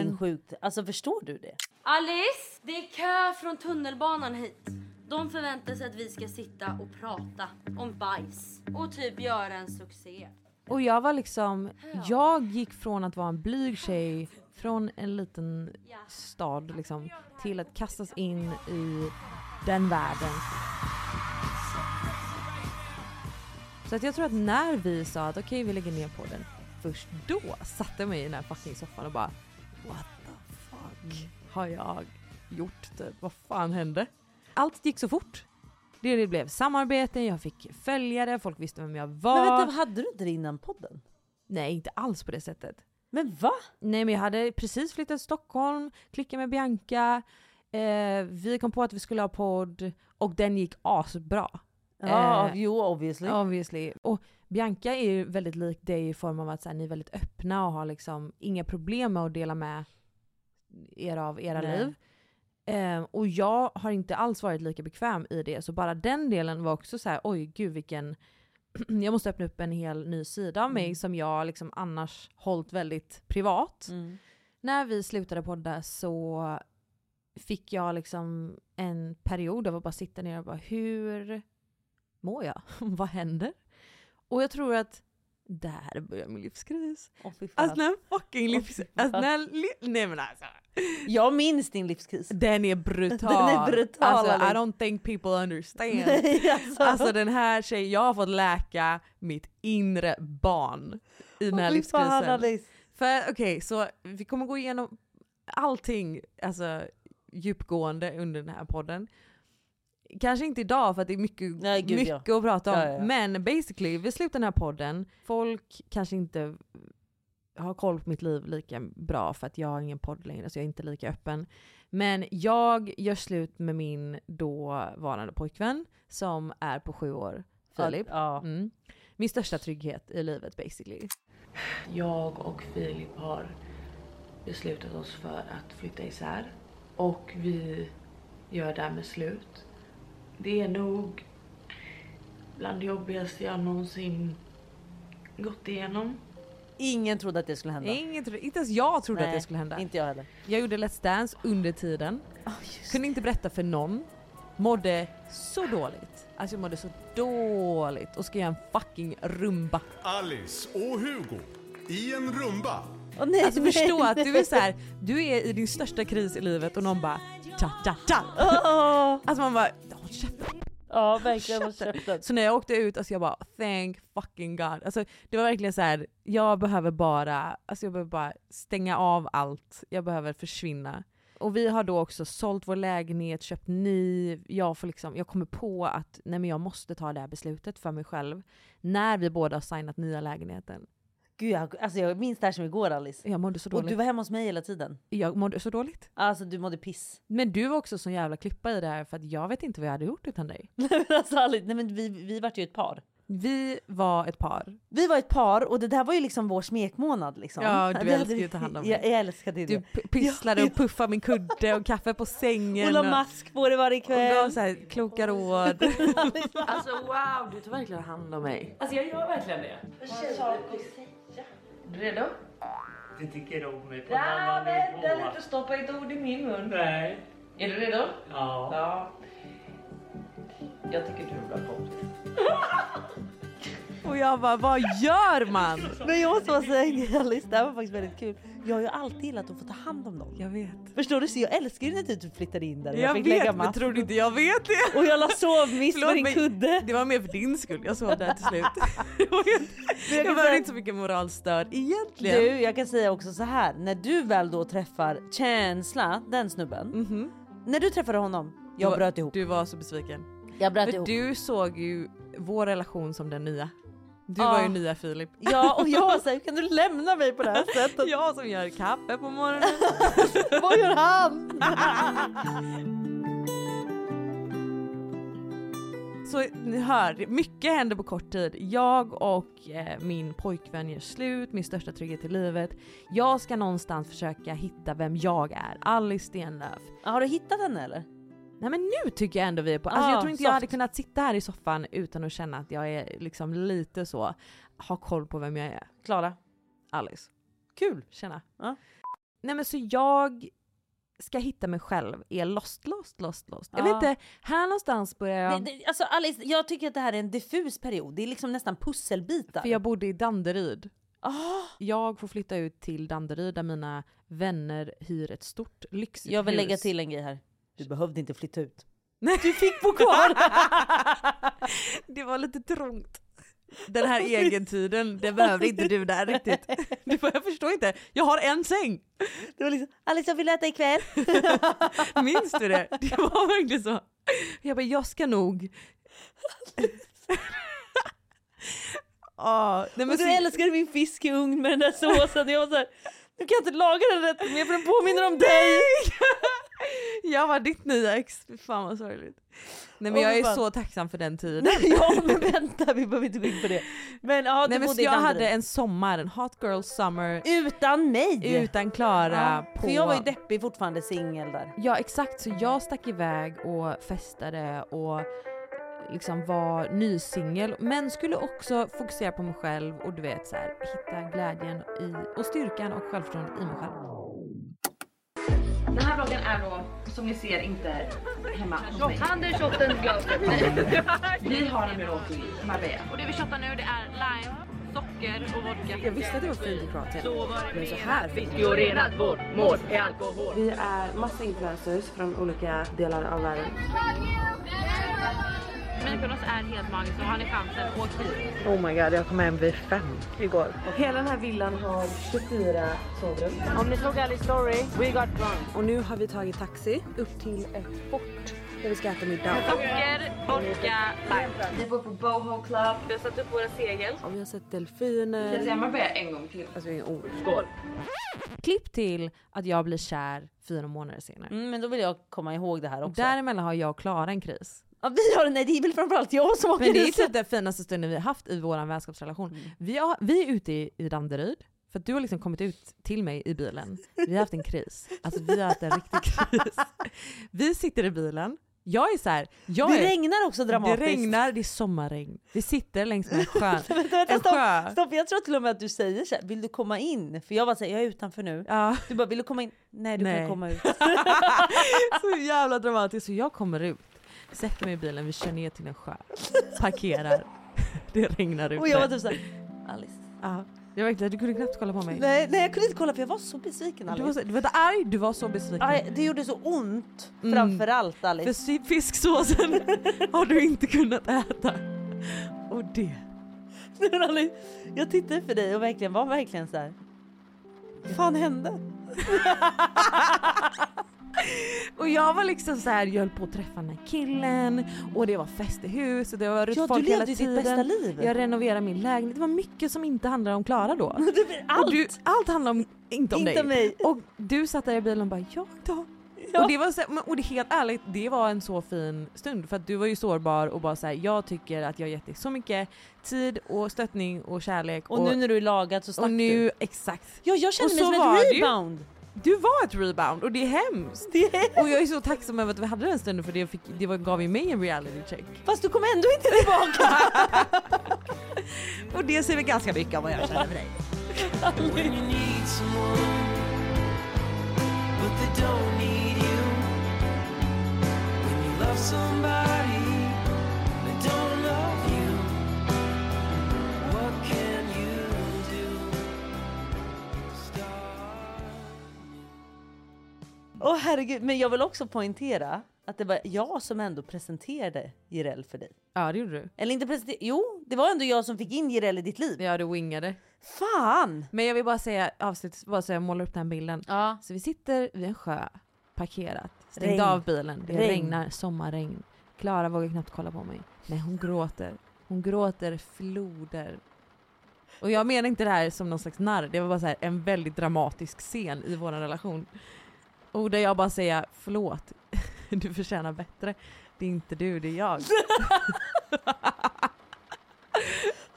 S4: fucking sjukt. Alltså förstår du det?
S13: Alice, det är kö från tunnelbanan hit. De förväntar sig att vi ska sitta och prata om bajs och typ göra en succé.
S5: Och jag var liksom, jag gick från att vara en blyg tjej från en liten stad liksom, till att kastas in i den världen. Så att jag tror att när vi sa att okej vi lägger ner på den, först då satte jag mig i den här fucking soffan och bara what the
S4: Mm.
S5: fuck har jag gjort typ? Vad fan hände? Allt gick så fort. Det det blev samarbeten, jag fick följare, folk visste vem jag var.
S4: Men vänta, hade du inte det innan podden?
S5: Nej, inte alls på det sättet.
S4: Men va?
S5: Nej men jag hade precis flyttat till Stockholm, klickade med Bianca, eh, vi kom på att vi skulle ha podd och den gick asbra.
S4: Eh. Ja, jo obviously.
S5: obviously. Och Bianca är ju väldigt lik dig i form av att så här, ni är väldigt öppna och har liksom inga problem med att dela med er av era
S4: Nej.
S5: liv. Eh, och jag har inte alls varit lika bekväm i det, så bara den delen var också så här: oj gud vilken... (clears throat) jag måste öppna upp en hel ny sida av mig
S14: Mm.
S5: som jag liksom annars hållit väldigt privat.
S4: Mm.
S5: När vi slutade podda så fick jag liksom en period av att bara sitta ner och bara hur mår jag? (laughs) Vad händer? Och jag tror att där börjar min livskris. Alltså när fucking livs... Alltså när... li- Nej men alltså.
S4: Jag minns din livskris.
S5: (laughs) Den är brutal.
S4: Den är brutal.
S5: Alltså, I
S4: Alice.
S5: don't think people understand.
S4: (laughs) Nej,
S5: (laughs) alltså.
S4: alltså.
S5: den här tjejen, jag har fått läka mitt inre barn i den här
S4: Åh, fy fan,
S5: livskrisen.
S4: Alice.
S5: För okej, så vi kommer gå igenom allting alltså, djupgående under den här podden. Kanske inte idag för att det är mycket,
S4: gud, ja.
S5: mycket att prata om.
S4: Ja, ja, ja.
S5: Men basically, vi slutar den här podden. Folk kanske inte har koll på mitt liv lika bra för att jag har ingen podd längre så jag är inte lika öppen. Men jag gör slut med min dåvarande pojkvän som är på sju år, Filip. Mm. Min största trygghet i livet basically.
S14: Jag och Filip har beslutat oss för att flytta isär. Och vi gör därmed slut. Det är nog bland det jobbigaste jag någonsin gått igenom.
S4: Ingen trodde att det skulle hända.
S5: Ingen trodde, inte ens jag trodde att
S4: Nej,
S5: det skulle hända.
S4: Inte jag heller.
S5: Jag gjorde Let's Dance under tiden. Kunde inte berätta för någon. Mådde så dåligt. Alltså jag mådde så dåligt och ska göra en fucking rumba.
S15: Alice och Hugo i en rumba.
S5: alltså förstå att du är så här, du är i din största kris i livet och någon bara ta ta ta. Alltså man bara håll käften.
S4: Ja verkligen håll
S5: käften. Så när jag åkte ut, alltså jag bara thank fucking god. Alltså det var verkligen så här, jag behöver bara, alltså jag behöver bara stänga av allt. Jag behöver försvinna. Och vi har då också sålt vår lägenhet, köpt ny. Jag, får liksom, jag kommer på att nej men jag måste ta det här beslutet för mig själv. När vi båda har signat nya lägenheten.
S4: Gud, jag, alltså jag minns det här som igår Alice.
S5: Jag mådde så
S4: Och
S5: dåligt.
S4: du var hemma hos mig hela tiden.
S5: Jag mådde så dåligt.
S4: Alltså du mådde piss.
S5: Men du var också så jävla klippa i det här för att jag vet inte vad jag hade gjort
S4: (laughs)
S5: utan dig.
S4: Nej men alltså Alice, nej, men vi, vi vart ju ett par.
S5: Vi var ett par.
S4: Vi var ett par och det där var ju liksom vår smekmånad liksom.
S5: Ja,
S4: (laughs)
S5: du
S4: Vi hade-
S5: älskade ju att ta hand om mig.
S4: Jag, jag älskade
S5: Du
S4: det.
S5: p- pysslade och puffade min kudde och kaffe på
S4: (laughs)
S5: sängen.
S4: Och la mask på det varje kväll.
S5: Och gav så här
S4: (laughs)
S5: kloka råd.
S14: Alltså wow, du tar verkligen hand om mig. Alltså jag gör verkligen det. Redo?
S16: Du tycker om mig på en
S14: Nej,
S16: annan
S14: vänta
S16: nivå.
S14: lite. Stoppa inte ord i min mun.
S16: Nej.
S14: Är du redo?
S16: Ja.
S14: Ja. Jag tycker du är en bra kompis.
S5: Och jag bara, vad gör man?
S4: Men jag måste bara säga Alice, det här var faktiskt väldigt kul. Jag har ju alltid gillat att få ta hand om någon.
S5: Jag vet.
S4: Förstår du? Så jag älskar ju när du typ flyttade in där och
S5: Jag
S4: fick
S5: vet,
S4: lägga
S5: men
S4: mask.
S5: tror du inte jag vet det?
S4: Och jag la sovmiss
S5: Förlåt,
S4: med din
S5: men
S4: kudde.
S5: Det var mer för din skull jag sov
S4: (laughs)
S5: där till slut.
S4: Men
S5: Jag
S4: kan
S5: behöver
S4: säga-
S5: inte så mycket moralstöd egentligen.
S4: Du, jag kan säga också så här. När du väl då träffar Känsla, den snubben. När du träffade honom, jag
S5: Du var-
S4: bröt ihop.
S5: Mhm. Du var så besviken.
S4: Jag bröt
S5: för
S4: ihop.
S5: du såg ju vår relation som den nya. Du
S4: Ja.
S5: var ju nya Filip.
S4: Ja och jag var såhär, kan du lämna mig på det här (laughs) sättet?
S5: (laughs) jag som gör kaffe på morgonen.
S4: Vad gör han?
S5: (laughs) Så ni hör, mycket händer på kort tid. Jag och eh, min pojkvän gör slut, min största trygghet i livet. Jag ska någonstans försöka hitta vem jag är, Alice Stenlöf.
S4: Har du hittat henne eller?
S5: Nej men nu tycker jag ändå vi är på... Alltså
S4: Ah,
S5: jag tror inte jag
S4: soft.
S5: hade kunnat sitta här i soffan utan att känna att jag är liksom lite så, ha koll på vem jag är.
S4: Klara.
S5: Alice.
S4: Kul!
S5: Tjena. Nej men så jag ska hitta mig själv, är lost, lost, lost, lost. Jag
S4: Ja.
S5: vet inte, här någonstans börjar jag...
S4: Det, det, alltså Alice, jag tycker att det här är en diffus period. Det är liksom nästan pusselbitar. Ah,
S5: För jag bodde i Danderyd. Jag får flytta ut till Danderyd där mina vänner hyr ett stort lyxigt
S4: Jag vill
S5: hus.
S4: lägga till en grej här. Du behövde inte flytta ut.
S5: Du fick bo
S4: (laughs)
S5: kvar! det var lite trångt.
S4: (laughs)
S5: Den här egentiden, det behövde inte du där riktigt. Du, bara, jag förstår inte, jag har
S4: (laughs)
S5: en säng!
S4: Det var liksom, Alice jag vill äta (laughs) ikväll.
S5: (laughs) Minns du det? Det var verkligen så. Jag bara, jag ska nog... (laughs) Ah, nej, men
S4: och du
S5: så-
S4: älskade min fisk i ugn med den där såsen. Jag var såhär, du kan inte laga den rätt mer för den påminner om dig.
S5: (laughs) Jag var ditt nya ex, Fy fan vad sorgligt. Nej men
S4: Åh,
S5: jag
S4: fy
S5: är
S4: fan.
S5: så tacksam för den
S4: (laughs)
S5: tiden.
S4: Nej, ja men vänta vi behöver inte gå in på det. Men ja, du
S5: Nej, men
S4: bodde
S5: så
S4: i
S5: jag
S4: Danderyd.
S5: hade en sommar, en hot girl summer.
S4: Utan mig!
S5: Utan Klara.
S4: Ja,
S5: på...
S4: För jag var ju deppig fortfarande singel där.
S5: Ja exakt, så jag stack iväg och festade och liksom var nysingel men skulle också fokusera på mig själv och du vet så här, hitta glädjen i, och styrkan och självförtroendet i mig själv.
S14: Den här vloggen är då, som ni ser, inte hemma hos mig.
S7: Anders åt en glass.
S14: (laughs) Vi har en Meroti i Marbella.
S7: Och det vi shottar nu det är lime, socker och vodka.
S14: Jag visste att det var fint i Kroatien. Men så här fint.
S12: Vi är massa influencers från olika delar av världen.
S7: Mykonos är helt magiskt så har ni chansen, åk hit.
S12: Oh my god, jag kom hem vid fem igår. Hela den här villan har 24 sovrum.
S7: Om ni såg Alice story, we got drunk.
S12: Och nu har vi tagit taxi upp till ett fort där vi ska äta middag.
S7: Socker, vodka, lime.
S12: Vi var på Boho Club.
S7: Vi har satt upp våra segel.
S12: Och vi har sett delfiner.
S7: Ska jag säga Marbella
S14: en gång till?
S12: Alltså inga ord.
S14: Skål!
S5: Klipp till att jag blir kär fyra månader senare.
S4: Mm, men då vill jag komma ihåg det här
S5: Och
S4: också.
S5: däremellan har jag och Klara en kris.
S4: Ja, vi har, nej det är väl framförallt jag som åker
S5: Men det är ju
S4: ut.
S5: typ den finaste stunden vi har haft i vår vänskapsrelation.
S4: Mm.
S5: Vi, har, vi är ute i, i Danderyd, för att du har liksom kommit ut till mig i bilen. Vi har haft en kris. Alltså vi har haft en riktig
S4: (laughs)
S5: kris. Vi sitter i bilen, jag är så här, jag
S4: Det
S5: är,
S4: regnar också dramatiskt.
S5: Det regnar, det är sommarregn. Vi sitter längs med en sjö.
S4: (laughs) Vänta, vänta,
S5: En sjö.
S4: stopp, stopp. Jag tror till och med att du säger så här, vill du komma in? För jag var såhär, jag är utanför nu. Du bara, vill du komma in? Nej du
S5: Nej.
S4: kan komma ut.
S5: (laughs) Så jävla dramatiskt. Så jag kommer ut, sätter mig i bilen, vi kör ner till en sjö, parkerar. Det regnar ute.
S4: Och jag var typ såhär, Alice.
S5: Ja, jag verkligen, du kunde knappt kolla på mig.
S4: Nej, nej jag kunde inte kolla för jag var så besviken
S5: Du
S4: Alice.
S5: var, så, du var inte arg, du var så besviken.
S4: Aj, det gjorde så ont
S5: Mm.
S4: framförallt Alice.
S5: För sy- fisksåsen (laughs) har du inte kunnat äta. Och det. (laughs)
S4: Men (laughs) Alice, jag tittade för dig och verkligen var verkligen så här. Vad fan hände?
S5: Och jag var liksom så här, jag höll på att träffa den här killen och det var fest i hus och det var runt
S4: Ja, du
S5: folk hela
S4: levde ju ditt
S5: tiden.
S4: bästa liv.
S5: Jag renoverade min lägenhet. Det var mycket som inte handlade om Klara då.
S4: allt.
S5: Och du, allt handlade om, inte om
S4: Inte
S5: dig.
S4: om mig.
S5: Och du satt där i bilen och bara jag då? Och det var så, men- och det, helt ärligt, det var en så fin stund för att du var ju sårbar och bara så här, jag tycker att jag har gett dig så mycket tid och stöttning och kärlek.
S4: Och, nu när du är lagad så stack
S5: och nu,
S4: du.
S5: exakt.
S4: Ja jag kände
S5: Och
S4: mig
S5: så
S4: som
S5: var
S4: ett
S5: det ju.
S4: rebound.
S5: Du var ett rebound och det är hemskt. Och jag är så tacksam över att vi hade den stunden för det, fick, det var, gav ju mig en reality check.
S4: Fast du kom ändå
S5: (laughs)
S4: inte tillbaka.
S5: Och det säger vi ganska mycket om vad jag känner för dig.
S11: When you need someone, but they don't need you. When you love somebody, they don't love you.
S4: Ja, herregud. Men jag vill också poängtera att det var jag som ändå presenterade Jireel för dig.
S5: Ja, det gjorde du.
S4: Eller inte presentera, jo, det var ändå jag som fick in Jireel i ditt liv.
S5: Ja, du wingade.
S4: Fan!
S5: Men jag vill bara säga avslutningsvis, bara så jag målar upp den här bilden. Så vi sitter vid en sjö, parkerat, stängt
S17: Regn.
S5: av bilen, det
S17: Regn.
S5: regnar sommarregn. Klara vågar knappt kolla på mig. Nej, hon gråter. Hon gråter floder. Och jag menar inte det här som någon slags narr, det var bara så här, en väldigt dramatisk scen i vår relation. Och där jag bara säger förlåt, (laughs) du förtjänar bättre. Det är inte du, det
S4: (laughs)
S5: är jag.
S4: (laughs)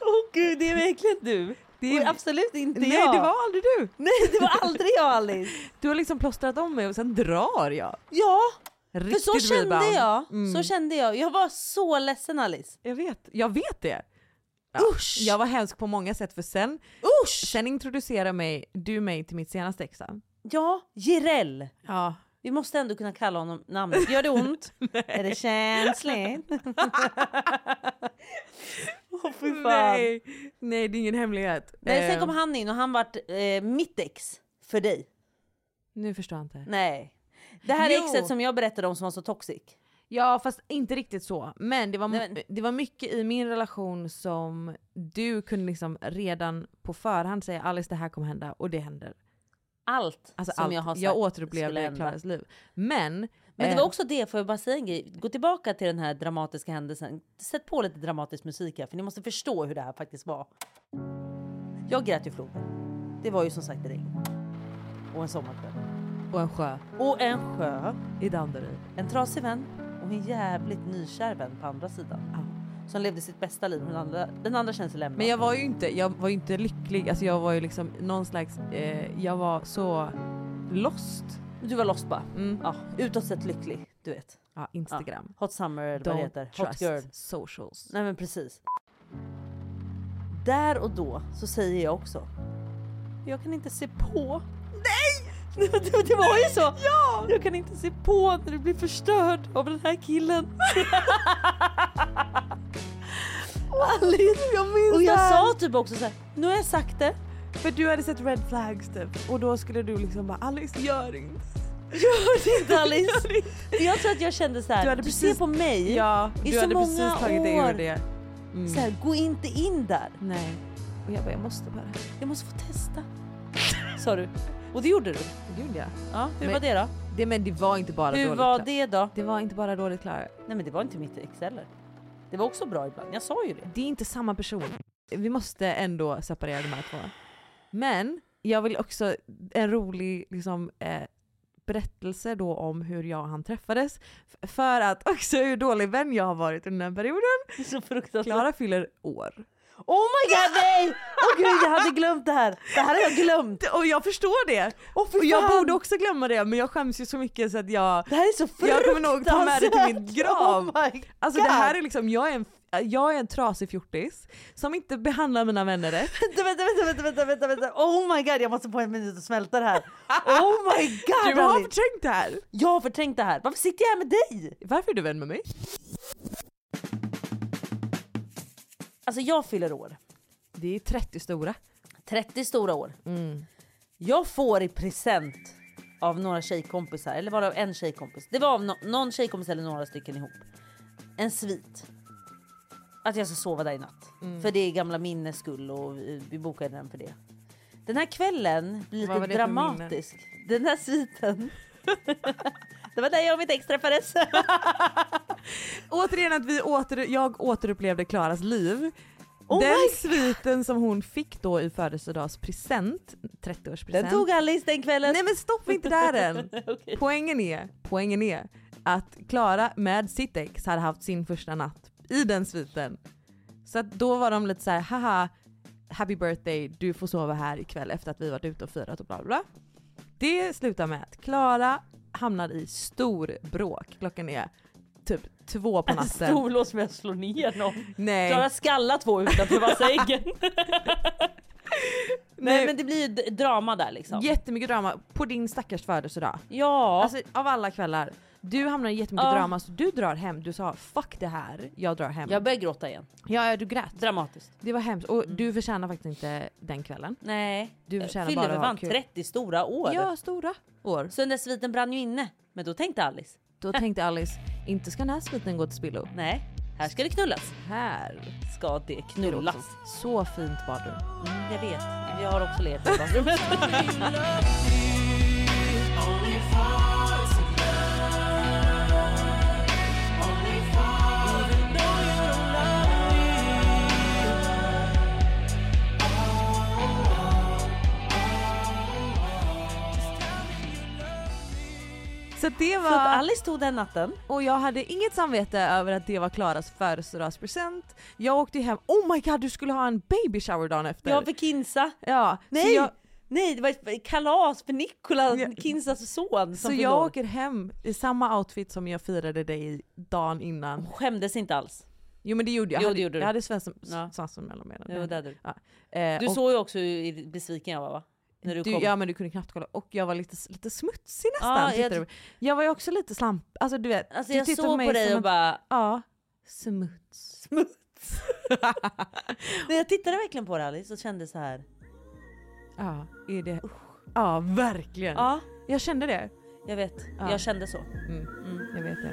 S4: Åh gud, det är verkligen du.
S5: Det är-
S4: Och absolut inte
S5: Nej,
S4: jag.
S5: det var aldrig du!
S4: Nej, det var aldrig jag Alice!
S5: Du har liksom plåstrat om mig och sen drar jag.
S4: (laughs) Ja,
S5: Riktigt
S4: för så kände
S5: rebound.
S4: jag.
S5: Mm.
S4: Så kände jag. Jag var så ledsen Alice.
S5: Jag vet, jag vet det. Ja. Jag var hemsk på många sätt för sen, sen introducerar mig, du mig till mitt senaste ex.
S4: Ja, Jireel.
S5: Ja.
S4: Vi måste ändå kunna kalla honom namnet. Gör det (laughs) ont? Är det känsligt? (laughs) Åh fy fan.
S5: Nej. Nej, det är ingen hemlighet.
S4: Nej, sen
S5: Eh,
S4: kom han in och han vart eh, mitt ex för dig.
S5: Nu förstår jag inte.
S4: Nej. Det här
S5: Jo.
S4: exet som jag berättade om som var så toxic.
S5: Ja fast inte riktigt så. Men det var,
S4: Nej, men-
S5: det var mycket i min relation som du kunde liksom redan på förhand säga Alice det här kommer hända och det händer.
S4: Allt
S5: Alltså
S4: som
S5: allt.
S4: jag har sagt
S5: jag
S4: skulle
S5: återupplevde
S4: hända.
S5: Klaras liv. Men,
S4: Men det
S5: eh,
S4: var också det, får jag bara säga en grej? Gå tillbaka till den här dramatiska händelsen. Sätt på lite dramatisk musik här, för ni måste förstå hur det här faktiskt var. Jag grät ju floden. Det var ju som sagt regn. Och en sommarkväll.
S5: Och ehm, en sjö.
S4: Och en sjö.
S5: I Danderyd.
S4: En trasig vän och en jävligt nykär vän på andra sidan. Som levde sitt bästa liv, men den andra, den andra känns lämnad.
S5: Men jag var ju inte, jag var ju inte lycklig, alltså jag var ju liksom någon slags, eh, jag var så lost.
S4: Du var lost bara.
S5: Mm.
S4: Ja, utåt sett lycklig, du vet.
S5: Ja, Instagram.
S4: Ja, hot summer eller vad det
S5: Don't
S4: heter. Hot
S5: trust
S4: girl.
S5: socials.
S4: Nej men precis. Där och då så säger jag också. Jag kan inte se på. Nej! (laughs) Det, det var ju så. Ja! Jag kan inte se på när du blir förstörd av den här killen. (laughs) Alice,
S5: jag minns
S4: Och jag
S5: det här.
S4: sa typ också så här. Nu har jag sagt det.
S5: För du hade sett red flags typ och då skulle du liksom bara Alice gör inte.
S4: (laughs) Gör det
S5: (laughs)
S4: inte Alice. Jag tror att jag kände så här.
S5: Du hade precis-
S4: ser på mig
S5: Ja,
S4: i
S5: du
S4: så
S5: hade
S4: många
S5: precis tagit
S4: år.
S5: dig ur det. Mm.
S4: Så här, gå inte in där.
S5: Nej. Och jag bara jag måste bara.
S4: Jag måste få testa. Sa du. Och det gjorde du.
S5: Det gjorde jag.
S4: Ja, hur
S5: Men-
S4: var det då?
S5: Det, men det var inte bara
S4: Hur
S5: dåligt.
S4: var
S5: Klara.
S4: det då?
S5: Det var inte bara dåligt Klara.
S4: Nej men det var inte mitt ex heller. Det var också bra ibland, jag sa ju det. (laughs)
S5: Det är inte samma person. Vi måste ändå separera de här två. Men jag vill också, en rolig liksom, eh, berättelse då om hur jag och han träffades. F- För att också hur dålig vän jag har varit under den här perioden.
S4: Så fruktansvärt.
S5: Klara fyller år.
S4: Oh my god nej! Åh gud jag hade glömt det här. Det här har jag glömt.
S5: Och jag förstår det.
S4: fy
S5: och jag
S4: fan.
S5: borde också glömma det men jag skäms ju så mycket så att jag...
S4: Det här är så
S5: Jag kommer nog ta med det till min
S4: fruktansvärt.
S5: grav.
S4: Oh my
S5: alltså det
S4: God.
S5: här är liksom, jag är en, jag är en trasig fjortis som inte behandlar mina vänner rätt.
S4: Vänta, vänta, vänta, vänta, vänta, vänta, vänta. Oh my god jag måste få en minut och smälta det här. Oh my god
S5: (laughs) Du har
S4: Alice.
S5: förträngt det här.
S4: Jag har förträngt det här. Varför sitter jag här med dig?
S5: Varför är du vän med mig?
S4: Alltså jag fyller år.
S5: Det är 30 stora.
S4: 30 stora år.
S5: Mm.
S4: Jag får i present av några tjejkompisar, eller var det av en tjejkompis? Det var av no- någon tjejkompis eller några stycken ihop. En svit. Att jag ska sova där i natt.
S5: Mm.
S4: För det är gamla minnes skull och vi vi bokade den för det. Den här kvällen blir
S5: Vad var det
S4: lite
S5: för
S4: dramatisk. Den här sviten. (laughs) det var där jag och mitt ex
S5: (laughs)
S4: träffades.
S5: Återigen att vi åter, jag återupplevde Klaras liv.
S4: Oh
S5: den
S4: my-
S5: sviten som hon fick då i födelsedagspresent, 30-årspresent.
S4: den tog Alice den kvällen.
S5: Nej men stoppa inte där än!
S4: (laughs)
S5: Poängen är, poängen är att Klara med sitt ex hade haft sin första natt i den sviten. Så att då var de lite så här, haha happy birthday, du får sova här ikväll efter att vi varit ute och firat och bla bla bla. Det slutar med att Klara hamnar i stor bråk. Klockan är typ två på natten.
S4: Storlås med att slå ner någon.
S5: Nej.
S4: Klara skalla två utanför
S5: (laughs)
S4: bassängen. Nej
S5: Nej.
S4: men det blir ju d- drama där liksom.
S5: Jättemycket drama på din stackars födelsedag.
S4: Ja.
S5: Alltså av alla kvällar. Du hamnar i jättemycket
S8: Ja.
S5: drama så du drar hem. Du sa fuck det här, jag drar hem.
S8: Jag börjar gråta igen.
S5: Ja, ja du grät.
S8: Dramatiskt.
S5: Det var hemskt. Och du förtjänar faktiskt inte den kvällen.
S4: Nej.
S5: Du förtjänar
S4: Fille
S5: bara att ha
S4: vann
S5: kul.
S4: 30 stora år.
S5: Ja, stora år.
S4: Så den där sviten brann ju inne. Men då tänkte Alice.
S5: Då tänkte Alice, inte ska den här sviten gå till spillo.
S4: Nej, här ska det knullas.
S5: Här
S4: ska det knullas.
S5: Så fint badrum.
S4: Mm, jag vet, jag har också levt i
S5: (laughs)
S4: badrummet.
S5: Så det var...
S4: Så att Alice tog den natten.
S5: Och jag hade inget samvete över att det var Klaras födelsedagspresent. Jag åkte ju hem, oh my god du skulle ha en baby shower dagen efter.
S4: Jag fick Kinsa.
S5: Ja,
S4: Nej!
S5: så jag,
S4: Nej, det var ett kalas för Nikola, Kinsas son.
S5: så
S4: Som fyllde
S5: jag
S4: år.
S5: åker hem i samma outfit som jag firade dig i dagen innan.
S4: skämdes inte alls.
S5: Jo men det gjorde jag.
S4: Jo,
S5: hade,
S4: det gjorde du.
S5: jag hade svensson
S4: Ja.
S5: svansen mellan benen.
S4: Jo, det hade du.
S5: Ja. Eh,
S4: Du
S5: och
S4: såg ju också hur besviken jag var va? När du,
S5: du,
S4: kom.
S5: ja men du kunde knappt kolla och jag var lite, lite smutsig
S4: Ja,
S5: nästan.
S4: jag
S5: tittade
S4: tr-
S5: du. jag var ju också lite slamp, alltså du vet.
S4: alltså
S5: du
S4: jag
S5: tittade
S4: såg
S5: mig
S4: på dig
S5: som
S4: och
S5: att- (laughs)
S4: bara...
S5: Ja, smuts.
S4: Smuts. När jag tittade verkligen på dig Alice och kände så här.
S5: (laughs) Ja, är det... ja verkligen.
S4: Ja.
S5: Jag kände det.
S4: Jag vet,
S5: Ja.
S4: jag kände så.
S5: Mm. Jag vet det.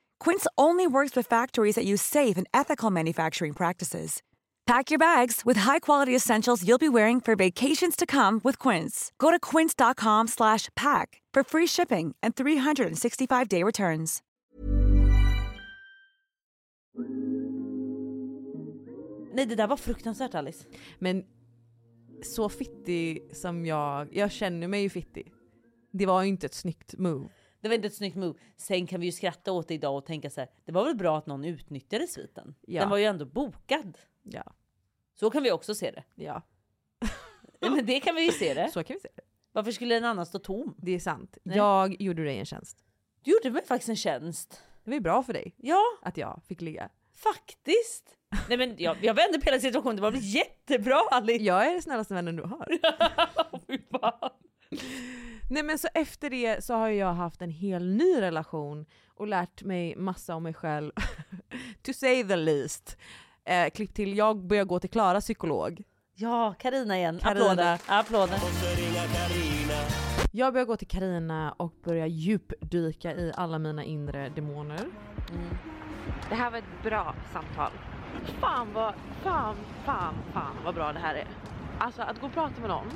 S18: Quince only works with factories that use safe and ethical manufacturing practices. Pack your bags with high-quality essentials you'll be wearing for vacations to come with Quince. Go to quince.com slash pack for free shipping and 365-day returns.
S4: Nej det där var fruktansvärt Alice.
S5: Men så fittig som jag, jag känner mig ju fittig. Det var ju inte ett snyggt move.
S4: Det var inte ett snyggt move. Sen kan vi ju skratta åt det idag och tänka så här. Det var väl bra att någon utnyttjade sviten.
S5: Ja.
S4: Den var ju ändå bokad.
S5: Ja.
S4: Så kan vi också se det.
S5: Ja.
S4: Men det kan vi ju se det.
S5: Så kan vi se det.
S4: Varför skulle en annan stå tom?
S5: Det är sant.
S4: Nej.
S5: Jag gjorde dig en tjänst.
S4: Du gjorde mig faktiskt en tjänst.
S5: Det var ju bra för dig
S4: Ja,
S5: att jag fick ligga.
S4: faktiskt. Nej men jag, jag vände på hela situationen. Det var väl jättebra Alice?
S5: Jag är den snällaste vännen du (laughs) har. Nej men så efter det så har jag haft en hel ny relation och lärt mig massa om mig själv. (laughs) to say the least. Eh, klipp till, jag börjar gå till Klara psykolog.
S4: Ja, Karina igen.
S5: Carina.
S4: Applåder. Applåder.
S5: Jag börjar gå till Karina och börjar djupdyka i alla mina inre demoner.
S19: Mm. Det här var ett bra samtal. Fan vad, fan, fan, fan vad bra det här är. Alltså att gå och prata med någon.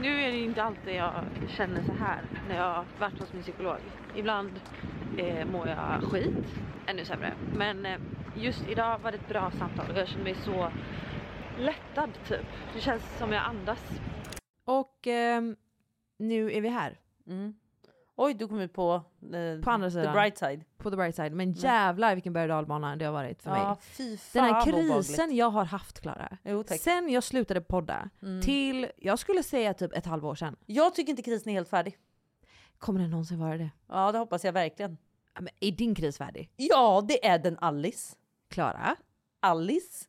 S19: Nu är det ju inte alltid jag känner så här när jag har varit hos min psykolog. Ibland eh, mår jag skit, ännu sämre. Men eh, just idag var det ett bra samtal och jag känner mig så lättad typ. Det känns som jag andas.
S5: Och ehm, nu är vi här.
S4: Oj, du kom ut på, eh,
S5: På andra sidan.
S4: the bright side.
S5: på the bright side. Men jävlar vilken berg och dalbana det har varit för
S4: Mm. Ja,
S5: mig.
S4: fy
S5: Den här
S4: fan vad
S5: krisen
S4: obehagligt.
S5: jag har haft Klara. Sen jag slutade podda
S4: Mm.
S5: till, jag skulle säga typ ett halvår sedan.
S4: Jag tycker inte krisen är helt färdig.
S5: Kommer den någonsin vara det?
S4: Ja, det hoppas jag verkligen.
S5: Men är din kris färdig?
S4: Ja, det är den Alice.
S5: Klara?
S4: Alice?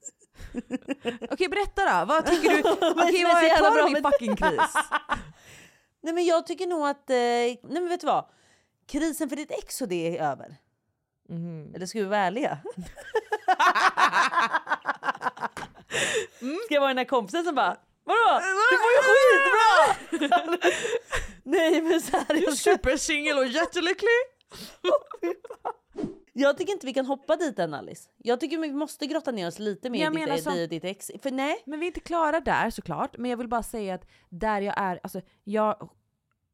S5: Okej berätta då,
S4: (laughs)
S5: vad tycker du?
S4: Vad är det
S5: Okej
S4: som är
S5: vad
S4: så
S5: är
S4: jävla
S5: kvar
S4: bra
S5: av min
S4: med-
S5: fucking kris?
S4: (laughs) Nej men jag tycker nog att, eh, nej men vet du vad? Krisen för ditt ex och det är över.
S5: Mhm.
S4: Eller ska vi vara ärliga? Ska jag vara den där kompisen som bara Mm. Vadå? Du får ju skitbra! (laughs) Nej men så här, jag
S5: supersingel och jättelycklig.
S4: jag tycker inte vi kan hoppa dit än Alice. Jag tycker vi måste grotta ner oss lite mer
S5: Jag
S4: i
S5: menar
S4: ditt,
S5: som-
S4: dig och ditt ex. För nej.
S5: Men vi är inte klara där såklart, men jag vill bara säga att där jag är, alltså jag,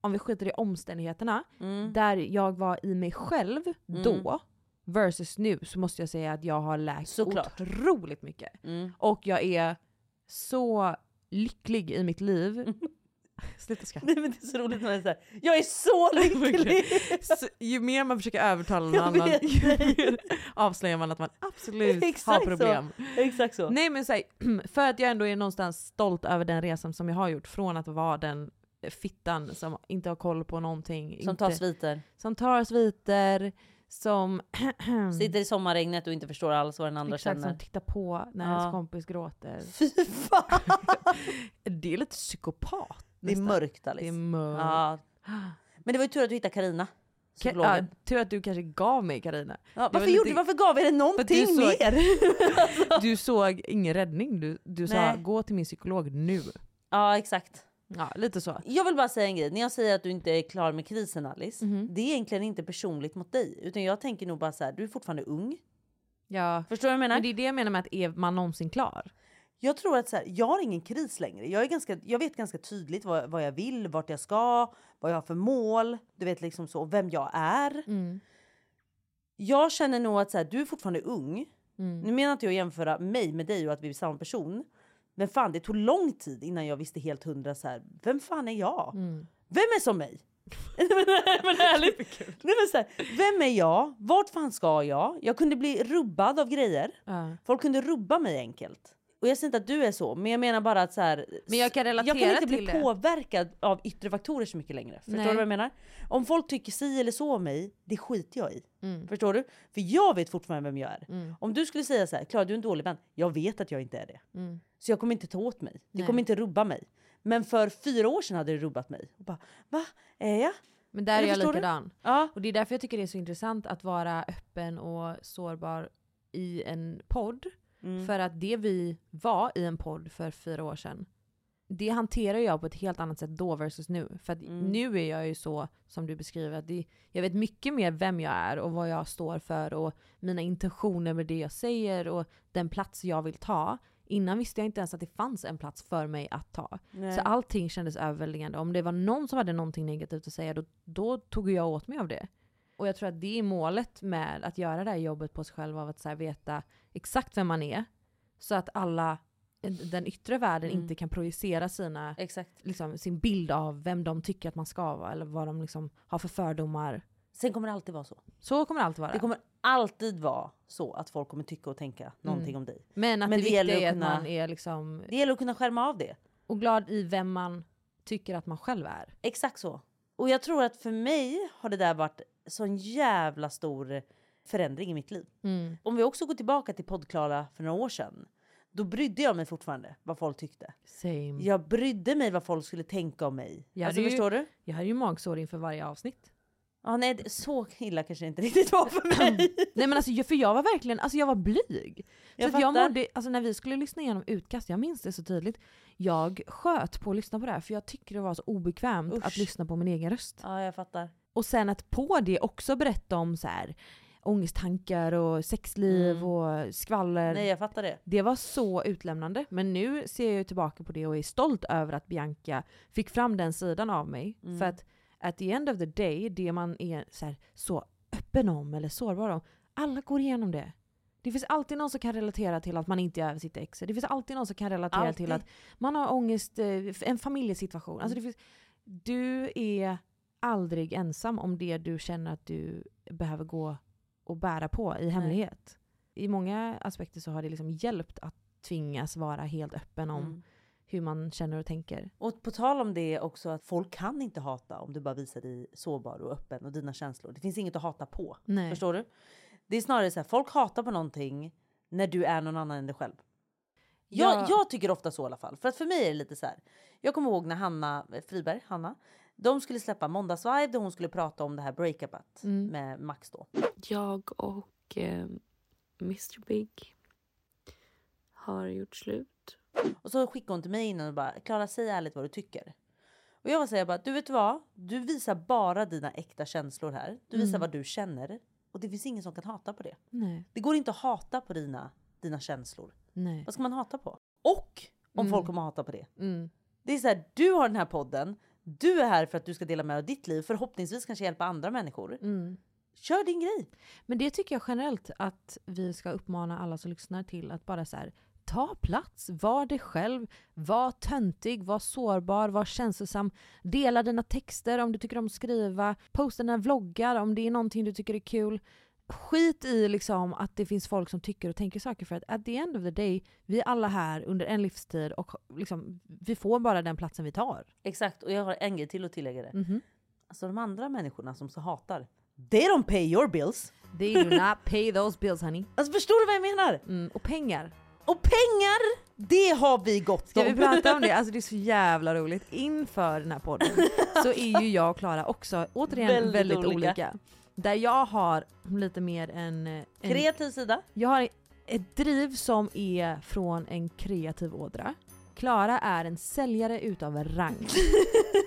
S5: om vi skiter i omständigheterna, där jag var i mig själv
S4: Mm.
S5: då versus nu så måste jag säga att jag har läkt
S4: Såklart.
S5: otroligt mycket.
S4: Mm.
S5: Och jag är så lycklig i mitt liv. (laughs) Sluta skratta.
S4: (laughs) Nej men det är så roligt när det är så här. jag är
S5: (laughs)
S4: så lycklig!
S5: Så ju mer man försöker övertala någon
S4: Jag
S5: annan
S4: vet,
S5: ju mer avslöjar man att man absolut har problem.
S4: Så. (laughs) Exakt så.
S5: Nej men så här, (clears throat) för att jag ändå är någonstans stolt över den resan som jag har gjort från att vara den fittan som inte har koll på någonting.
S4: Som
S5: inte,
S4: tar sviter.
S5: Som tar sviter, som...
S4: Sitter i sommarregnet och inte förstår alls vad den andra
S5: Mm. Exakt,
S4: känner.
S5: (laughs) som tittar på när
S4: Ja.
S5: ens kompis gråter.
S4: Fy fan!
S5: det är lite psykopat.
S4: Det är
S5: nästan.
S4: mörkt Alice.
S5: Det är mörkt.
S4: Ja. Men det var ju tur att du hittade Karina.
S5: Ka- ja,
S4: psykologen.
S5: tur att du kanske gav mig (laughs) Karina.
S4: Ja, varför, gjorde, varför gav vi dig någonting
S5: (laughs)
S4: mer?
S5: mer? du såg ingen räddning. Du, du sa
S4: Nej.
S5: gå till min psykolog nu.
S4: Ja exakt.
S5: Ja, lite så.
S4: Jag vill bara säga en grej. När jag säger att du inte är klar med krisen Alice.
S5: Mhm.
S4: Det är egentligen inte personligt mot dig. Utan jag tänker nog bara så här, du är fortfarande ung.
S5: Ja.
S4: Förstår du vad jag menar?
S5: Men det är det jag menar med att är man någonsin klar?
S4: Jag tror att så här, jag har ingen kris längre. Jag, är ganska, jag vet ganska tydligt vad, vad jag vill, vart jag ska, vad jag har för mål. Du vet liksom så, vem jag är.
S5: Mm.
S4: Jag känner nog att så här, du är fortfarande ung.
S5: Mm.
S4: Nu menar inte jag att jämföra mig med dig och att vi är samma person. Men fan det tog lång tid innan jag visste helt hundra så här, vem fan är jag? Vem är som mig? Nej, men, nej, men ärligt. Nej, men så här, vem är jag? Vart fan ska jag? Jag kunde bli rubbad av grejer. Folk kunde rubba mig enkelt. Och jag säger inte att du är så, men jag menar bara att så här,
S5: Men jag kan
S4: jag
S5: relatera
S4: kan inte bli
S5: till det.
S4: påverkad av yttre faktorer så mycket längre. Förstår
S5: Nej.
S4: du vad jag menar? Om folk tycker si eller så om mig, det skiter jag i.
S5: Mm.
S4: Förstår du? För jag vet fortfarande vem jag är.
S5: Mm.
S4: Om du skulle säga så här, Klara du är en dålig vän. Jag vet att jag inte är det.
S5: Mm.
S4: Så jag kommer inte ta åt mig. Det
S5: Nej.
S4: kommer inte rubba mig. Men för fyra år sedan hade det rubbat mig. Och bara, va? Är jag?
S5: Men där är
S4: Eller
S5: jag
S4: förstår du?
S5: likadan.
S4: Ja.
S5: Och det är därför jag tycker det är så intressant att vara öppen och sårbar i en podd.
S4: Mm.
S5: För att det vi var i en podd för fyra år sedan, det hanterar jag på ett helt annat sätt då versus nu. För att nu är jag ju så som du beskriver, att det, jag vet mycket mer vem jag är och vad jag står för och mina intentioner med det jag säger och den plats jag vill ta. Innan visste jag inte ens att det fanns en plats för mig att ta.
S4: Nej.
S5: Så allting kändes överväldigande. Om det var någon som hade någonting negativt att säga då, då tog jag åt mig av det. Och jag tror att det är målet med att göra det här jobbet på sig själv av att så här veta exakt vem man är. Så att alla, den yttre världen
S4: Mm.
S5: inte kan projicera sina,
S4: Exakt.
S5: liksom, sin bild av vem de tycker att man ska vara eller vad de liksom har för fördomar.
S4: Sen kommer det alltid vara så.
S5: Så kommer det alltid vara.
S4: Det kommer alltid vara så att folk kommer tycka och tänka någonting
S5: Mm.
S4: om dig.
S5: Men
S4: Men
S5: att det,
S4: det
S5: viktiga
S4: gäller att
S5: är att
S4: kunna-
S5: man är liksom,
S4: Det gäller att kunna skärma av det.
S5: och glad i vem man tycker att man själv är.
S4: Exakt så. Och jag tror att för mig har det där varit sån jävla stor förändring i mitt liv.
S5: Mm.
S4: Om vi också går tillbaka till poddklara för några år sedan. Då brydde jag mig fortfarande vad folk tyckte.
S5: Same.
S4: Jag brydde mig vad folk skulle tänka om mig.
S5: Jag
S4: alltså
S5: hade ju-
S4: förstår du?
S5: Jag hade ju magsår inför varje avsnitt.
S4: Ja, nej, det- så illa kanske det inte riktigt var för
S5: (laughs)
S4: mig.
S5: Nej men alltså jag- för jag var verkligen, alltså jag var blyg.
S4: Jag
S5: så att jag
S4: fattar.
S5: mådde, alltså när vi skulle lyssna igenom utkast, jag minns det så tydligt. Jag sköt på att lyssna på det här för jag tyckte det var så obekvämt att
S4: Usch.
S5: lyssna på min egen röst.
S4: ja, jag fattar.
S5: Och sen att på det också berätta om så här, ångesttankar och sexliv och skvaller.
S4: Mm. Nej, jag fattar det.
S5: Det var så utlämnande. Men nu ser jag ju tillbaka på det och är stolt över att Bianca fick fram den sidan av mig.
S4: Mm.
S5: För att at the end of the day, det man är så, här, så öppen om eller sårbar om, alla går igenom det. Det finns alltid någon som kan relatera till att man inte är över sitt ex. Det finns alltid någon som kan relatera
S4: Alltid.
S5: till att man har ångest, eh, en familjesituation. Alltså det
S4: Mm.
S5: finns, du är aldrig ensam om det du känner att du behöver gå att bära på i hemlighet. I många aspekter så har det liksom hjälpt att tvingas vara helt öppen om
S4: Mm.
S5: hur man känner och tänker.
S4: Och på tal om det också att folk kan inte hata om du bara visar dig sårbar och öppen och dina känslor. Det finns inget att hata på.
S5: Nej.
S4: Förstår du? Det är snarare så här, folk hatar på någonting när du är någon annan än dig själv. Jag,
S5: Ja.
S4: jag tycker ofta så i alla fall. För att för mig är det lite så här. Jag kommer ihåg när Hanna eh, Friberg, Hanna, de skulle släppa Måndagsvibe där hon skulle prata om det här breakupet
S7: Mm.
S4: med Max då.
S7: Jag och eh, Mr Big har gjort slut.
S4: Och så skickade hon till mig innan och bara Klara säg ärligt vad du tycker. Och jag var så här, jag bara du vet vad? Du visar bara dina äkta känslor här. Du visar
S5: Mm.
S4: vad du känner och det finns ingen som kan hata på det.
S5: Nej.
S4: Det går inte att hata på dina, dina känslor.
S5: Nej.
S4: Vad ska man hata på? Och om
S5: Mm.
S4: folk kommer hata på det.
S5: Mm.
S4: Det är så här, du har den här podden. Du är här för att du ska dela med dig av ditt liv. Förhoppningsvis kanske hjälpa andra människor.
S5: Mm.
S4: Kör din grej.
S5: Men det tycker jag generellt att vi ska uppmana alla som lyssnar till att bara så här, ta plats, var dig själv, var töntig, var sårbar, var känslosam. Dela dina texter om du tycker om att skriva, posta dina vloggar om det är någonting du tycker är kul. Skit i liksom att det finns folk som tycker och tänker saker för att at the end of the day, vi är alla här under en livstid och liksom, vi får bara den platsen vi tar.
S4: Exakt, och jag har en grej till att tillägga det.
S5: Mhm.
S4: Alltså de andra människorna som så hatar. They don't pay your bills.
S5: They do not pay those bills honey.
S4: Alltså förstår du vad jag menar?
S5: Mm, och pengar.
S4: Och pengar, det har vi gott
S5: Ska vi prata om det? Alltså det är så jävla roligt. Inför den här podden så är ju jag och Klara också återigen väldigt,
S4: Väldigt
S5: olika.
S4: olika.
S5: Där jag har lite mer en... en
S4: Kreativ sida.
S5: Jag har ett driv som är från en kreativ ådra. Klara är en säljare utav rang.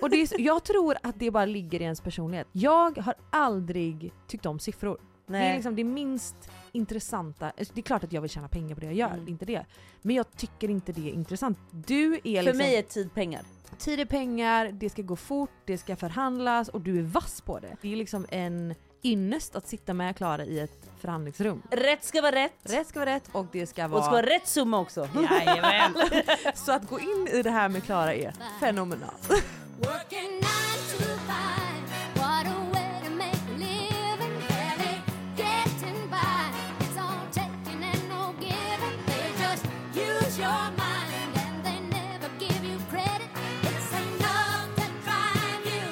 S5: Och det är, så- jag tror att det bara ligger i ens personlighet. Jag har aldrig tyckt om siffror. Det är
S4: Nej.
S5: liksom det minst intressanta. Alltså, Det är klart att jag vill tjäna pengar på det jag gör,
S4: Mm.
S5: det är inte det. Men jag tycker inte det är intressant. Du är liksom...
S4: För mig är tid pengar.
S5: Tid är pengar, det ska gå fort, det ska förhandlas och du är vass på det. Det är liksom en ynnest att sitta med Klara i ett förhandlingsrum.
S4: Rätt ska vara rätt.
S5: Rätt ska vara rätt och det ska vara...
S4: Och det ska vara rätt summa också.
S5: Jajamän. Så att gå in i det här med Klara är
S4: (laughs)
S5: fenomenalt.
S20: Working nine to five. What a way to make a living, barely getting by. It's all taking and no giving. They just use your mind and they never give you credit. It's enough to drive you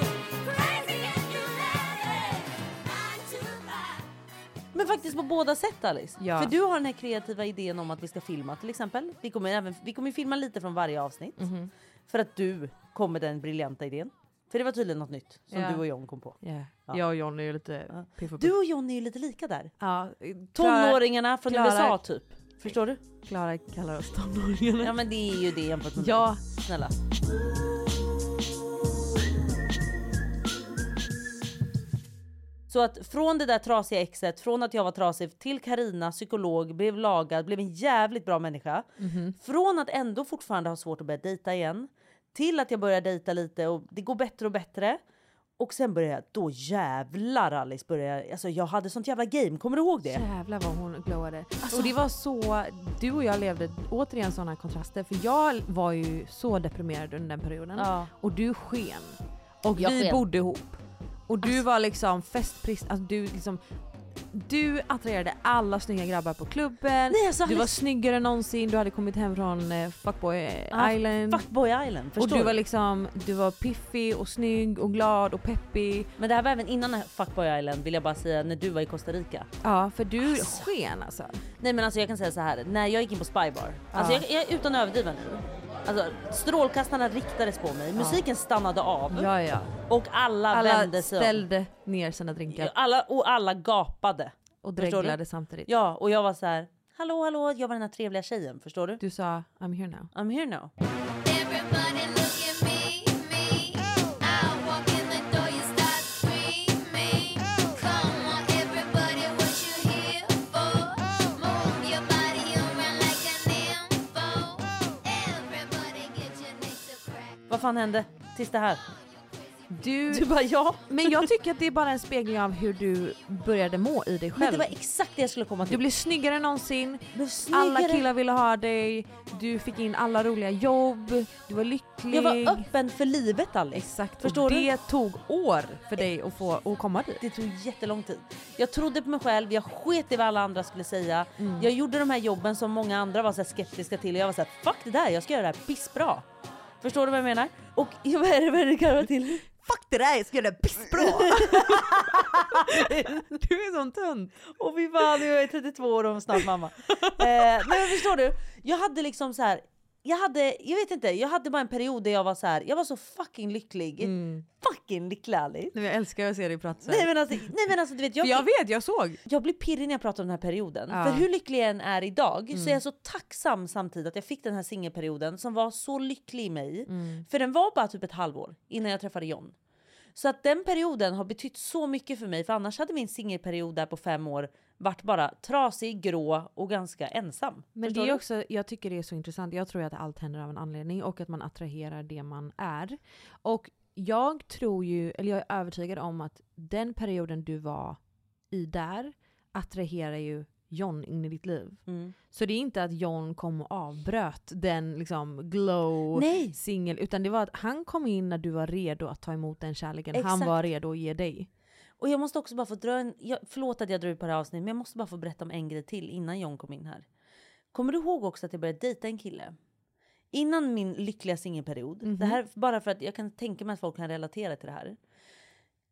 S20: crazy if you let it. Nine to five.
S4: Men faktiskt på båda sätt Alice.
S5: Ja.
S4: För du har den här kreativa idén om att vi ska filma till exempel. Vi kommer, även, vi kommer filma lite från varje avsnitt.
S5: Mhm.
S4: För att du kom med den briljanta idén. För det var tydligen något nytt som
S5: Ja.
S4: du och John kom på.
S5: Ja.
S4: Ja.
S5: Jag och John är ju lite piff och puff.
S4: Du och John är ju lite lika där.
S5: Ja,
S4: Tonåringarna från
S5: Klara-
S4: USA typ. Förstår du?
S5: Klara kallar oss tonåringarna.
S4: Ja men det är ju det jämfört med
S5: Ja.
S4: mig. Snälla. Så att från det där trasiga exet, från att jag var trasig till Karina, psykolog, blev lagad, blev en jävligt bra människa.
S5: Mhm.
S4: Från att ändå fortfarande ha svårt att börja dejta igen till att jag börjar dejta lite och det går bättre och bättre. Och sen börjar jag, då jävlar Alice börjar jag, alltså jag hade sånt jävla game, kommer du ihåg det? Alltså-
S5: Jävlar vad hon glowade. Och det var så, du och jag levde återigen sådana kontraster för jag var ju så deprimerad under den perioden
S4: Ja.
S5: och du sken. Och
S4: Jag
S5: vi
S4: sken. Alltså-
S5: bodde ihop. Och du var liksom festprist, alltså du liksom du attraherade alla snygga grabbar på klubben,
S4: Nej, alltså,
S5: du var
S4: Alice-
S5: snyggare än någonsin, du hade kommit hem från eh, Fuckboy eh,
S4: Ja,
S5: Island.
S4: Fuckboy Island, förstår
S5: och du var liksom, du var piffig och snygg och glad och peppig.
S4: Men det här var även innan Fuckboy Island vill jag bara säga när du var i Costa Rica.
S5: Ja för du sken alltså.
S4: Nej men alltså jag kan säga så här. när jag gick in på Spybar, alltså
S5: Ja.
S4: jag, jag, utan att överdriva nu. Alltså strålkastarna riktades på mig,
S5: Ja.
S4: musiken stannade av.
S5: Ja, ja.
S4: Och alla,
S5: Alla
S4: vände sig om.
S5: ställde ner sina drinkar.
S4: alla, Och alla gapade.
S5: Och
S4: Förstår
S5: dreglade
S4: du?
S5: samtidigt.
S4: Ja och jag var så här. hallå hallå, jag var den här trevliga tjejen, förstår du?
S5: Du sa I'm here now.
S4: I'm here now.
S20: Everybody look at me, me. I walk in the door, you start screaming. Come on, everybody, what you here for? Move your body around like an info. Everybody get your necks a crack.
S4: Vad fan hände tills det här? (laughs)
S5: Du,
S4: Du bara, ja.
S5: Men jag tycker att det är bara en spegling av hur du började må i dig själv.
S4: Men det var exakt det jag skulle komma till.
S5: Du blev snyggare än någonsin, alla
S4: snyggare.
S5: killar ville ha dig, du fick in alla roliga jobb, du var lycklig.
S4: Jag var öppen för livet Alice.
S5: Exakt,
S4: Förstår
S5: och
S4: du?
S5: det tog år för dig att, få, att komma
S4: (laughs)
S5: dit.
S4: Det tog jättelång tid. Jag trodde på mig själv, jag sket i vad alla andra skulle säga.
S5: Mm.
S4: Jag gjorde de här jobben som många andra var så här skeptiska till och jag var så här, fuck det där, jag ska göra det här pissbra. Förstår du vad jag menar? Och (laughs) vad är det- vad är det du garvar till? Fuck det där, jag ska göra det pissbra!
S5: du är sån tönt!
S4: (laughs) Och fy fan, jag är 32 år och snart mamma. eh, nej men förstår du? Jag hade liksom så här. Jag hade, jag vet inte, jag hade bara en period där jag var så här, jag var så fucking lycklig. Fucking lycklig Alice.
S5: Jag älskar att se dig prata
S4: Mm. Nej men, alltså, nej men alltså du vet,
S5: För jag vet, jag såg.
S4: Jag blir pirrig när jag pratar om den här perioden.
S5: Ja.
S4: För hur lycklig jag än är idag
S5: Mm.
S4: så är jag så tacksam samtidigt att jag fick den här singelperioden som var så lycklig i mig.
S5: Mm.
S4: För den var bara typ ett halvår innan jag träffade John. Så att den perioden har betytt så mycket för mig för annars hade min singelperiod där på fem år varit bara trasig, grå och ganska ensam.
S5: Men
S4: Förstår
S5: det är
S4: du?
S5: också, jag tycker det är så intressant. Jag tror att allt händer av en anledning och att man attraherar det man är. Och jag tror ju, eller jag är övertygad om att den perioden du var i där attraherar ju John in i ditt liv.
S4: Mm.
S5: Så det är inte att John kom och avbröt den liksom glow
S4: Nej.
S5: singel utan det var att han kom in när du var redo att ta emot den kärleken han
S4: Exakt.
S5: var redo att ge dig.
S4: Och jag måste också bara få dra en... Jag, förlåt att jag drar ut på det här avsnittet men jag måste bara få berätta om en grej till innan John kom in här. Kommer du ihåg också att jag började dejta en kille? Innan min lyckliga singelperiod. Det här bara för att jag kan tänka mig att folk kan relatera till det här.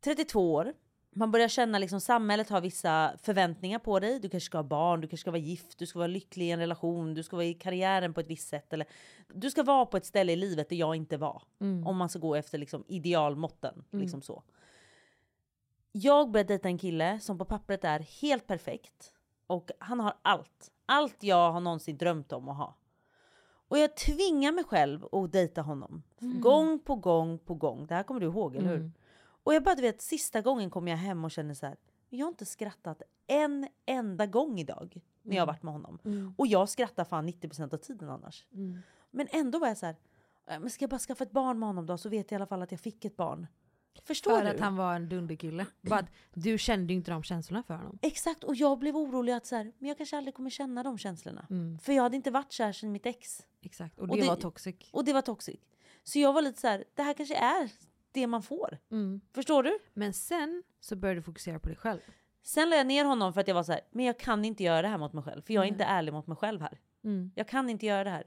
S4: 32 år. Man börjar känna liksom samhället har vissa förväntningar på dig. Du kanske ska ha barn, du kanske ska vara gift, du ska vara lycklig i en relation, du ska vara i karriären på ett visst sätt. Eller, du ska vara på ett ställe i livet där jag inte var.
S5: Mm.
S4: Om man ska gå efter liksom idealmåtten.
S5: Mm.
S4: Liksom så. Jag började dejta en kille som på pappret är helt perfekt. Och han har allt. Allt jag har någonsin drömt om att ha. Och jag tvingar mig själv att dejta honom.
S5: Mm.
S4: Gång på gång på gång. Det här kommer du ihåg, eller hur?
S5: Mm.
S4: Och jag bara, du vet, sista gången kom jag hem och kände så här. Jag har inte skrattat en enda gång idag när jag har
S5: Mm.
S4: varit med honom.
S5: Mm.
S4: Och jag skrattar fan 90% av tiden annars.
S5: Mm.
S4: Men ändå var jag så här. "Äh, Men ska jag bara skaffa ett barn med honom då så vet jag i alla fall att jag fick ett barn. Förstår
S5: för
S4: du?
S5: att han var en dunderkille. Bara att du kände ju inte de känslorna för honom.
S4: Exakt, och jag blev orolig att så här, men jag kanske aldrig kommer känna de känslorna.
S5: Mm.
S4: För jag hade inte varit kär sedan mitt ex.
S5: Exakt, och det var toxic.
S4: Och det var toxic. Så jag var lite så här, det här kanske är det man får.
S5: mm.
S4: Förstår du?
S5: Men sen så började du fokusera på dig själv.
S4: Sen la jag ner honom för att jag var så här, men jag kan inte göra det här mot mig själv. För jag är inte ärlig mot mig själv här.
S5: Mm.
S4: Jag kan inte göra det här.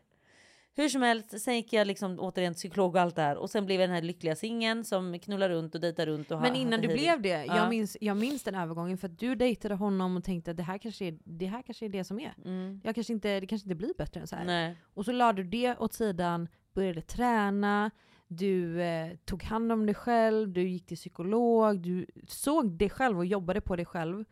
S4: Hur som helst, sen gick jag liksom återigen till psykolog och allt det här. Och sen blev jag den här lyckliga singeln som knullar runt och dejtar runt. Och ha-
S5: Men innan
S4: hade
S5: du
S4: hej.
S5: blev det,
S4: Ja.
S5: jag, minns, jag minns den övergången för att du dejtade honom och tänkte att det här kanske är det, här kanske, är det som är.
S4: Mm.
S5: Jag kanske inte, det kanske inte blir bättre än så här.
S4: Nej.
S5: Och så lade du det åt sidan, började träna, du eh, tog hand om dig själv, du gick till psykolog, du såg dig själv och jobbade på dig själv.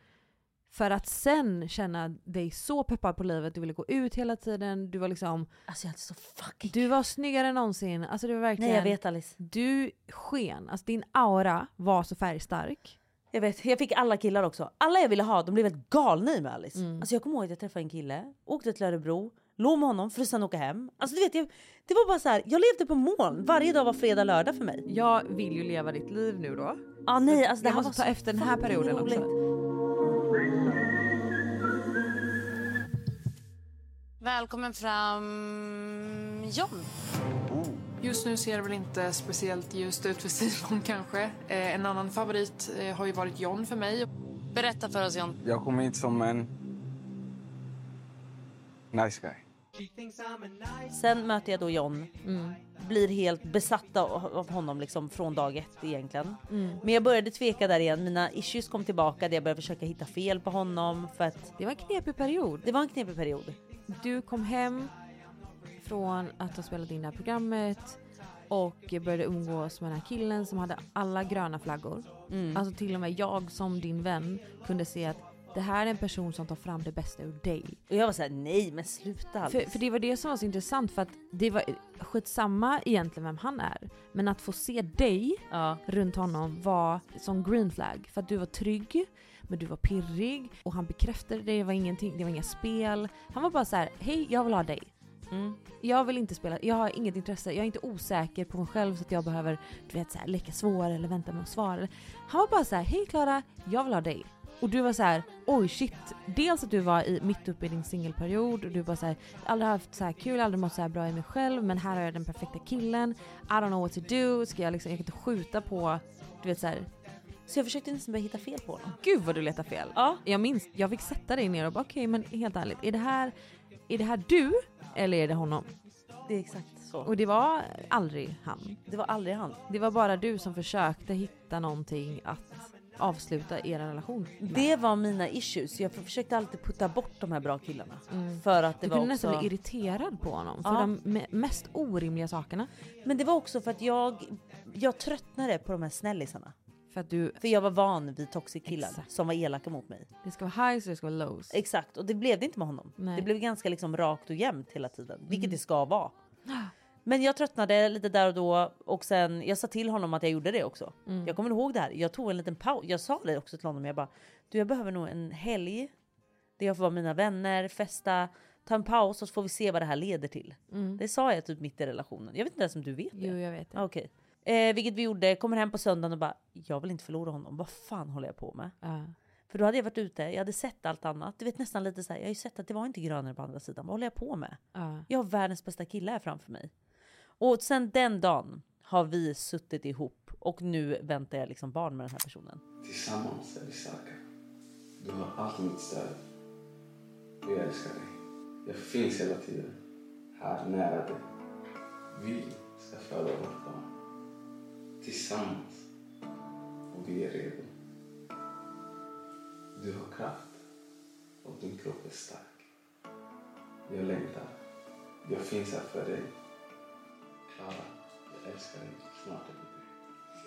S5: För att sen känna dig så peppad på livet, du ville gå ut hela tiden, du var liksom...
S4: Alltså jag hade så fucking
S5: Du var snyggare än någonsin. Alltså det var verkligen...
S4: Nej jag vet Alice.
S5: Du sken, alltså din aura var så färgstark.
S4: Jag vet, jag fick alla killar också. Alla jag ville ha, de blev helt galna i mig Alice.
S5: Mm.
S4: Alltså jag kommer ihåg att jag träffade en kille, åkte till Örebro, låg med honom för att sen åka hem. Alltså du vet, jag, det var bara så här, jag levde på moln. Varje dag var fredag, lördag för mig.
S5: Jag vill ju leva ditt liv nu då.
S4: Ah, nej, alltså det
S5: Mm. jag
S4: här
S5: måste
S4: var
S5: ta
S4: så
S5: efter den här
S4: fucking
S5: perioden
S4: roligt.
S5: också.
S21: Välkommen fram, John. Just nu ser det väl inte speciellt ljust ut för Simon kanske. Eh, en annan favorit eh, har ju varit John för mig. Berätta för oss, John.
S22: Jag kom hit som en nice guy.
S4: Sen möter jag då John.
S5: Mm.
S4: Blir helt besatt av av honom liksom från dag ett egentligen.
S5: Mm.
S4: Men jag började tveka där igen. Mina issues kom tillbaka där jag började försöka hitta fel på honom. För att
S5: det var en knepig period.
S4: Det var en knepig period.
S5: Du kom hem från att ha spelat in det här programmet och började umgås med den här killen som hade alla gröna flaggor.
S4: Mm.
S5: Alltså till och med jag som din vän kunde se att det här är en person som tar fram det bästa ur dig.
S4: Och jag var såhär, nej men sluta Alice.
S5: För, för det var det som var så intressant för att det var skitsamma egentligen vem han är. Men att få se dig runt honom var som green flag. För att du var trygg, men du var pirrig och han bekräftade dig, det var ingenting, det var inga spel. Han var bara så här: hej jag vill ha dig. Jag vill inte spela, jag har inget intresse, jag är inte osäker på mig själv så att jag behöver du vet, så här, leka svår eller vänta med att svara. Han var bara så här: hej Klara, jag vill ha dig. Och du var så här, oj shit. Dels att du var i, mitt uppe i din singelperiod och du bara såhär, aldrig haft så här kul, aldrig mått så här bra i mig själv men här har jag den perfekta killen. I don't know what to do, ska jag liksom, jag kan inte skjuta på, du vet såhär.
S4: Så jag försökte nästan börja hitta fel på honom.
S5: Gud vad du letar fel. Ja. Jag minns, jag fick sätta dig ner och bara okej men helt ärligt, är det här, är det här du eller är det honom?
S4: Det är exakt så.
S5: Och det var aldrig han.
S4: Det var aldrig han.
S5: Det var bara du som försökte hitta någonting att avsluta er relation med.
S4: Det var mina issues. Jag försökte alltid putta bort de här bra killarna. För att det
S5: Mm. du
S4: var
S5: kunde
S4: också...
S5: nästan bli irriterad på honom för
S4: Ja.
S5: de me- mest orimliga sakerna.
S4: Men det var också för att jag, jag tröttnade på de här snällisarna.
S5: För, att du...
S4: för jag var van vid toxic killar som var elaka mot mig.
S5: Det ska vara highs och det ska vara lows.
S4: Exakt, och det blev det inte med honom.
S5: Nej.
S4: Det blev ganska liksom rakt och jämnt hela tiden, vilket
S5: Mm.
S4: det ska
S5: (gasps)
S4: vara. Men jag tröttnade lite där och då och sen jag sa till honom att jag gjorde det också.
S5: Mm.
S4: Jag kommer ihåg det här. Jag tog en liten paus. Jag sa det också till honom. Jag bara, du jag behöver nog en helg där jag får vara med mina vänner, festa, ta en paus och så får vi se vad det här leder till.
S5: Mm.
S4: Det sa jag typ mitt i relationen. Jag vet inte ens om du vet det.
S5: Jo jag vet det.
S4: Ah, Okej. Eh, vilket vi gjorde, kommer hem på söndagen och bara jag vill inte förlora honom. Vad fan håller jag på med? För då hade jag varit ute, jag hade sett allt annat. Du vet nästan lite så här, jag har ju sett att det var inte grönare på andra sidan. Vad håller jag på med?
S5: Ja.
S4: Jag har världens bästa kille här framför mig. Och sen den dagen har vi suttit ihop och nu väntar jag liksom barn med den här personen.
S23: Tillsammans är vi starka. Du har allt mitt stöd. Och jag älskar dig. Jag finns hela tiden. Här, nära dig. Vi ska föda vårt barn. Tillsammans. Och vi är redo. Du har kraft. Och din kropp är stark. Jag längtar. Jag finns här för dig. Klara, jag älskar dig. Snart är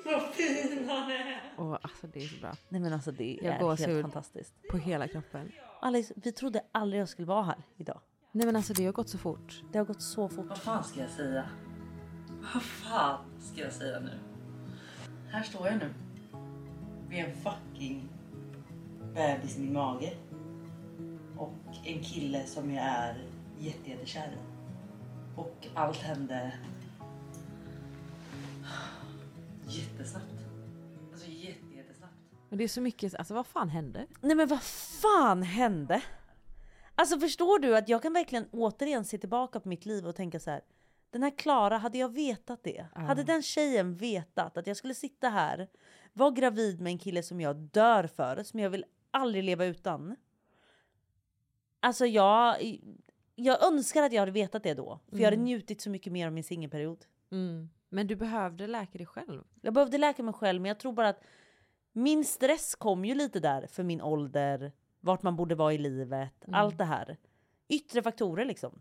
S23: vi
S4: Vad fin han är!
S5: Och alltså det är så bra.
S4: Nej men alltså det
S5: Jag
S4: är
S5: går
S4: helt
S5: så-
S4: fantastiskt.
S5: På hela kroppen.
S4: Alice, vi trodde aldrig jag skulle vara här idag.
S5: Nej men alltså det har gått så fort.
S4: Det har gått så fort.
S9: Vad fan ska jag säga? Vad fan ska jag säga nu? Här står jag nu. Med en fucking bebis i min mage. Och en kille som jag är jätte, jättekär i. Och allt hände jättesnabbt. Alltså jätte, jättesnabbt.
S5: Men det är så mycket, alltså vad fan hände?
S4: Nej men vad fan hände? Alltså förstår du att jag kan verkligen återigen se tillbaka på mitt liv och tänka så här. Den här Klara, hade jag vetat det? Hade den tjejen vetat att jag skulle sitta här, vara gravid med en kille som jag dör för, som jag vill aldrig leva utan. Alltså jag, jag önskar att jag hade vetat det då, för jag hade
S5: Mm.
S4: njutit så mycket mer av min singelperiod.
S5: Mm. Men du behövde läka dig själv.
S4: Jag behövde läka mig själv, men jag tror bara att min stress kom ju lite där för min ålder, vart man borde vara i livet,
S5: Mm.
S4: allt det här. Yttre faktorer liksom.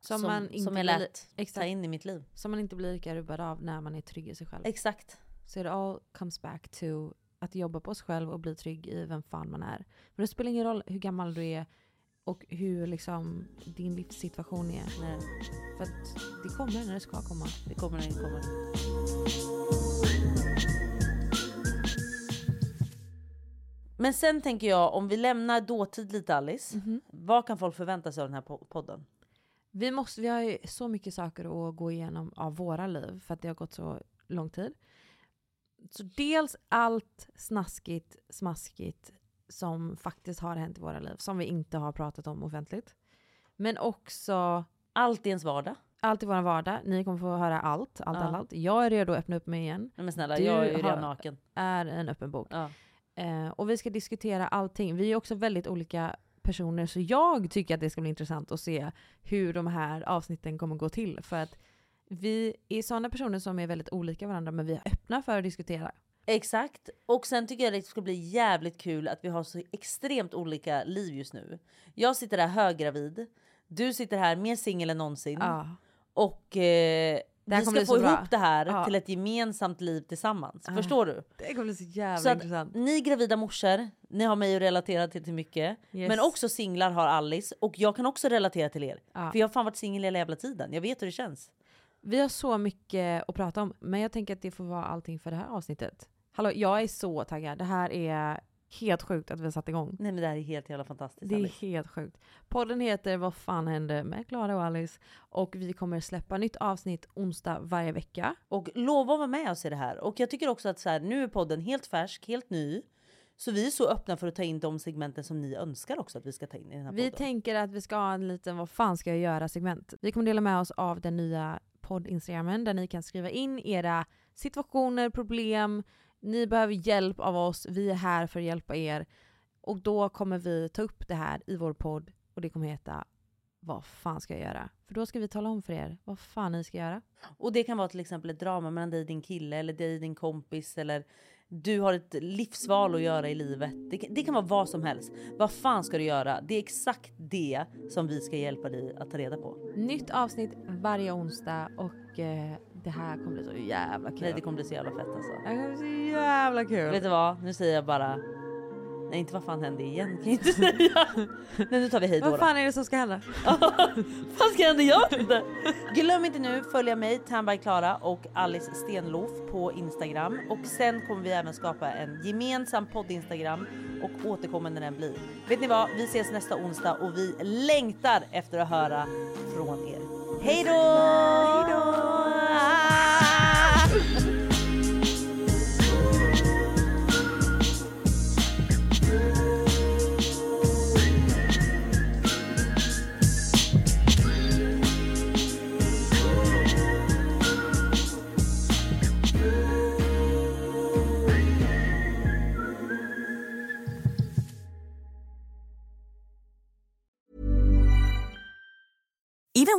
S5: Som, man inte
S4: som jag
S5: blir-
S4: lät ta in i mitt liv.
S5: Som man inte blir lika rubbad av när man är trygg i sig själv.
S4: Exakt.
S5: Så it all comes back to att jobba på sig själv och bli trygg i vem fan man är. Men det spelar ingen roll hur gammal du är och hur liksom din livssituation är. För att det kommer när det ska komma.
S4: Det kommer när det kommer. Men sen tänker jag, om vi lämnar dåtid lite Alice,
S5: Mhm.
S4: vad kan folk förvänta sig av den här po- podden?
S5: Vi, måste, vi har ju så mycket saker att gå igenom av våra liv för att det har gått så lång tid. Så dels allt snaskigt, smaskigt som faktiskt har hänt i våra liv som vi inte har pratat om offentligt. Men också...
S4: Allt i ens vardag.
S5: Allt i vår vardag. Ni kommer få höra allt. Allt,
S4: Ja.
S5: allt, allt. Jag är redo att öppna upp mig igen.
S4: Nej men snälla, jag är ju redan
S5: har-
S4: naken.
S5: är en öppen bok. Eh, och vi ska diskutera allting. Vi är också väldigt olika personer så jag tycker att det ska bli intressant att se hur de här avsnitten kommer gå till. För att vi är sådana personer som är väldigt olika varandra men vi är öppna för att diskutera.
S4: Exakt. Och sen tycker jag det ska bli jävligt kul att vi har så extremt olika liv just nu. Jag sitter här höggravid. Du sitter här mer singel än någonsin.
S5: Ja.
S4: Och eh,
S5: Det här
S4: vi
S5: kommer
S4: ska
S5: bli
S4: få
S5: så bra.
S4: ihop det här
S5: Ja.
S4: till ett gemensamt liv tillsammans.
S5: Ja.
S4: Förstår du?
S5: Det kommer bli så jävla
S4: Så att
S5: intressant.
S4: ni gravida morsor, ni har mig att relatera till, till mycket.
S5: Yes.
S4: Men också singlar har Alice och jag kan också relatera till er.
S5: Ja.
S4: För jag har fan varit singel hela jävla tiden. Jag vet hur det känns.
S5: Vi har så mycket att prata om men jag tänker att det får vara allting för det här avsnittet. Hallå, jag är så taggad. Det här är Helt sjukt att vi har satt igång.
S4: Nej men det här är helt jävla fantastiskt.
S5: Det är
S4: Alice.
S5: helt sjukt. Podden heter Vad fan hände med Klara och Alice och vi kommer släppa nytt avsnitt onsdag varje vecka.
S4: Och lova att vara med oss i det här. Och jag tycker också att så här, nu är podden helt färsk, helt ny. Så vi är så öppna för att ta in de segmenten som ni önskar också att vi ska ta in i den här
S5: Vi
S4: podden.
S5: tänker att vi ska ha en liten vad fan ska jag göra segment. Vi kommer dela med oss av den nya podd-instagrammen där ni kan skriva in era situationer, problem, ni behöver hjälp av oss, vi är här för att hjälpa er. Och då kommer vi ta upp det här i vår podd och det kommer heta Vad fan ska jag göra? För då ska vi tala om för er vad fan ni ska göra.
S4: Och det kan vara till exempel ett drama mellan dig och din kille eller dig och din kompis eller du har ett livsval att göra i livet. Det, kan- det kan vara vad som helst. Vad fan ska du göra? Det är exakt det som vi ska hjälpa dig att ta reda på.
S5: Nytt avsnitt varje onsdag och eh, det här kommer bli så jävla kul.
S4: Nej, det kommer bli så jävla fett alltså.
S5: Det här kommer bli så jävla kul.
S4: Vet du vad? Nu säger jag bara... Nej, inte vad fan hände igen kan jag inte säga. (laughs) Nej, nu tar vi hej då.
S5: Vad fan är det som ska hända?
S4: Vad ska hända? Jag vet inte. Glöm inte nu följa mig, Tan by Klara och Alice Stenlof på Instagram. Och sen kommer vi även skapa en gemensam podd-Instagram och återkommer när den blir. Vet ni vad? Vi ses nästa onsdag och vi längtar efter att höra från er. Hej då! Hej då!
S1: Even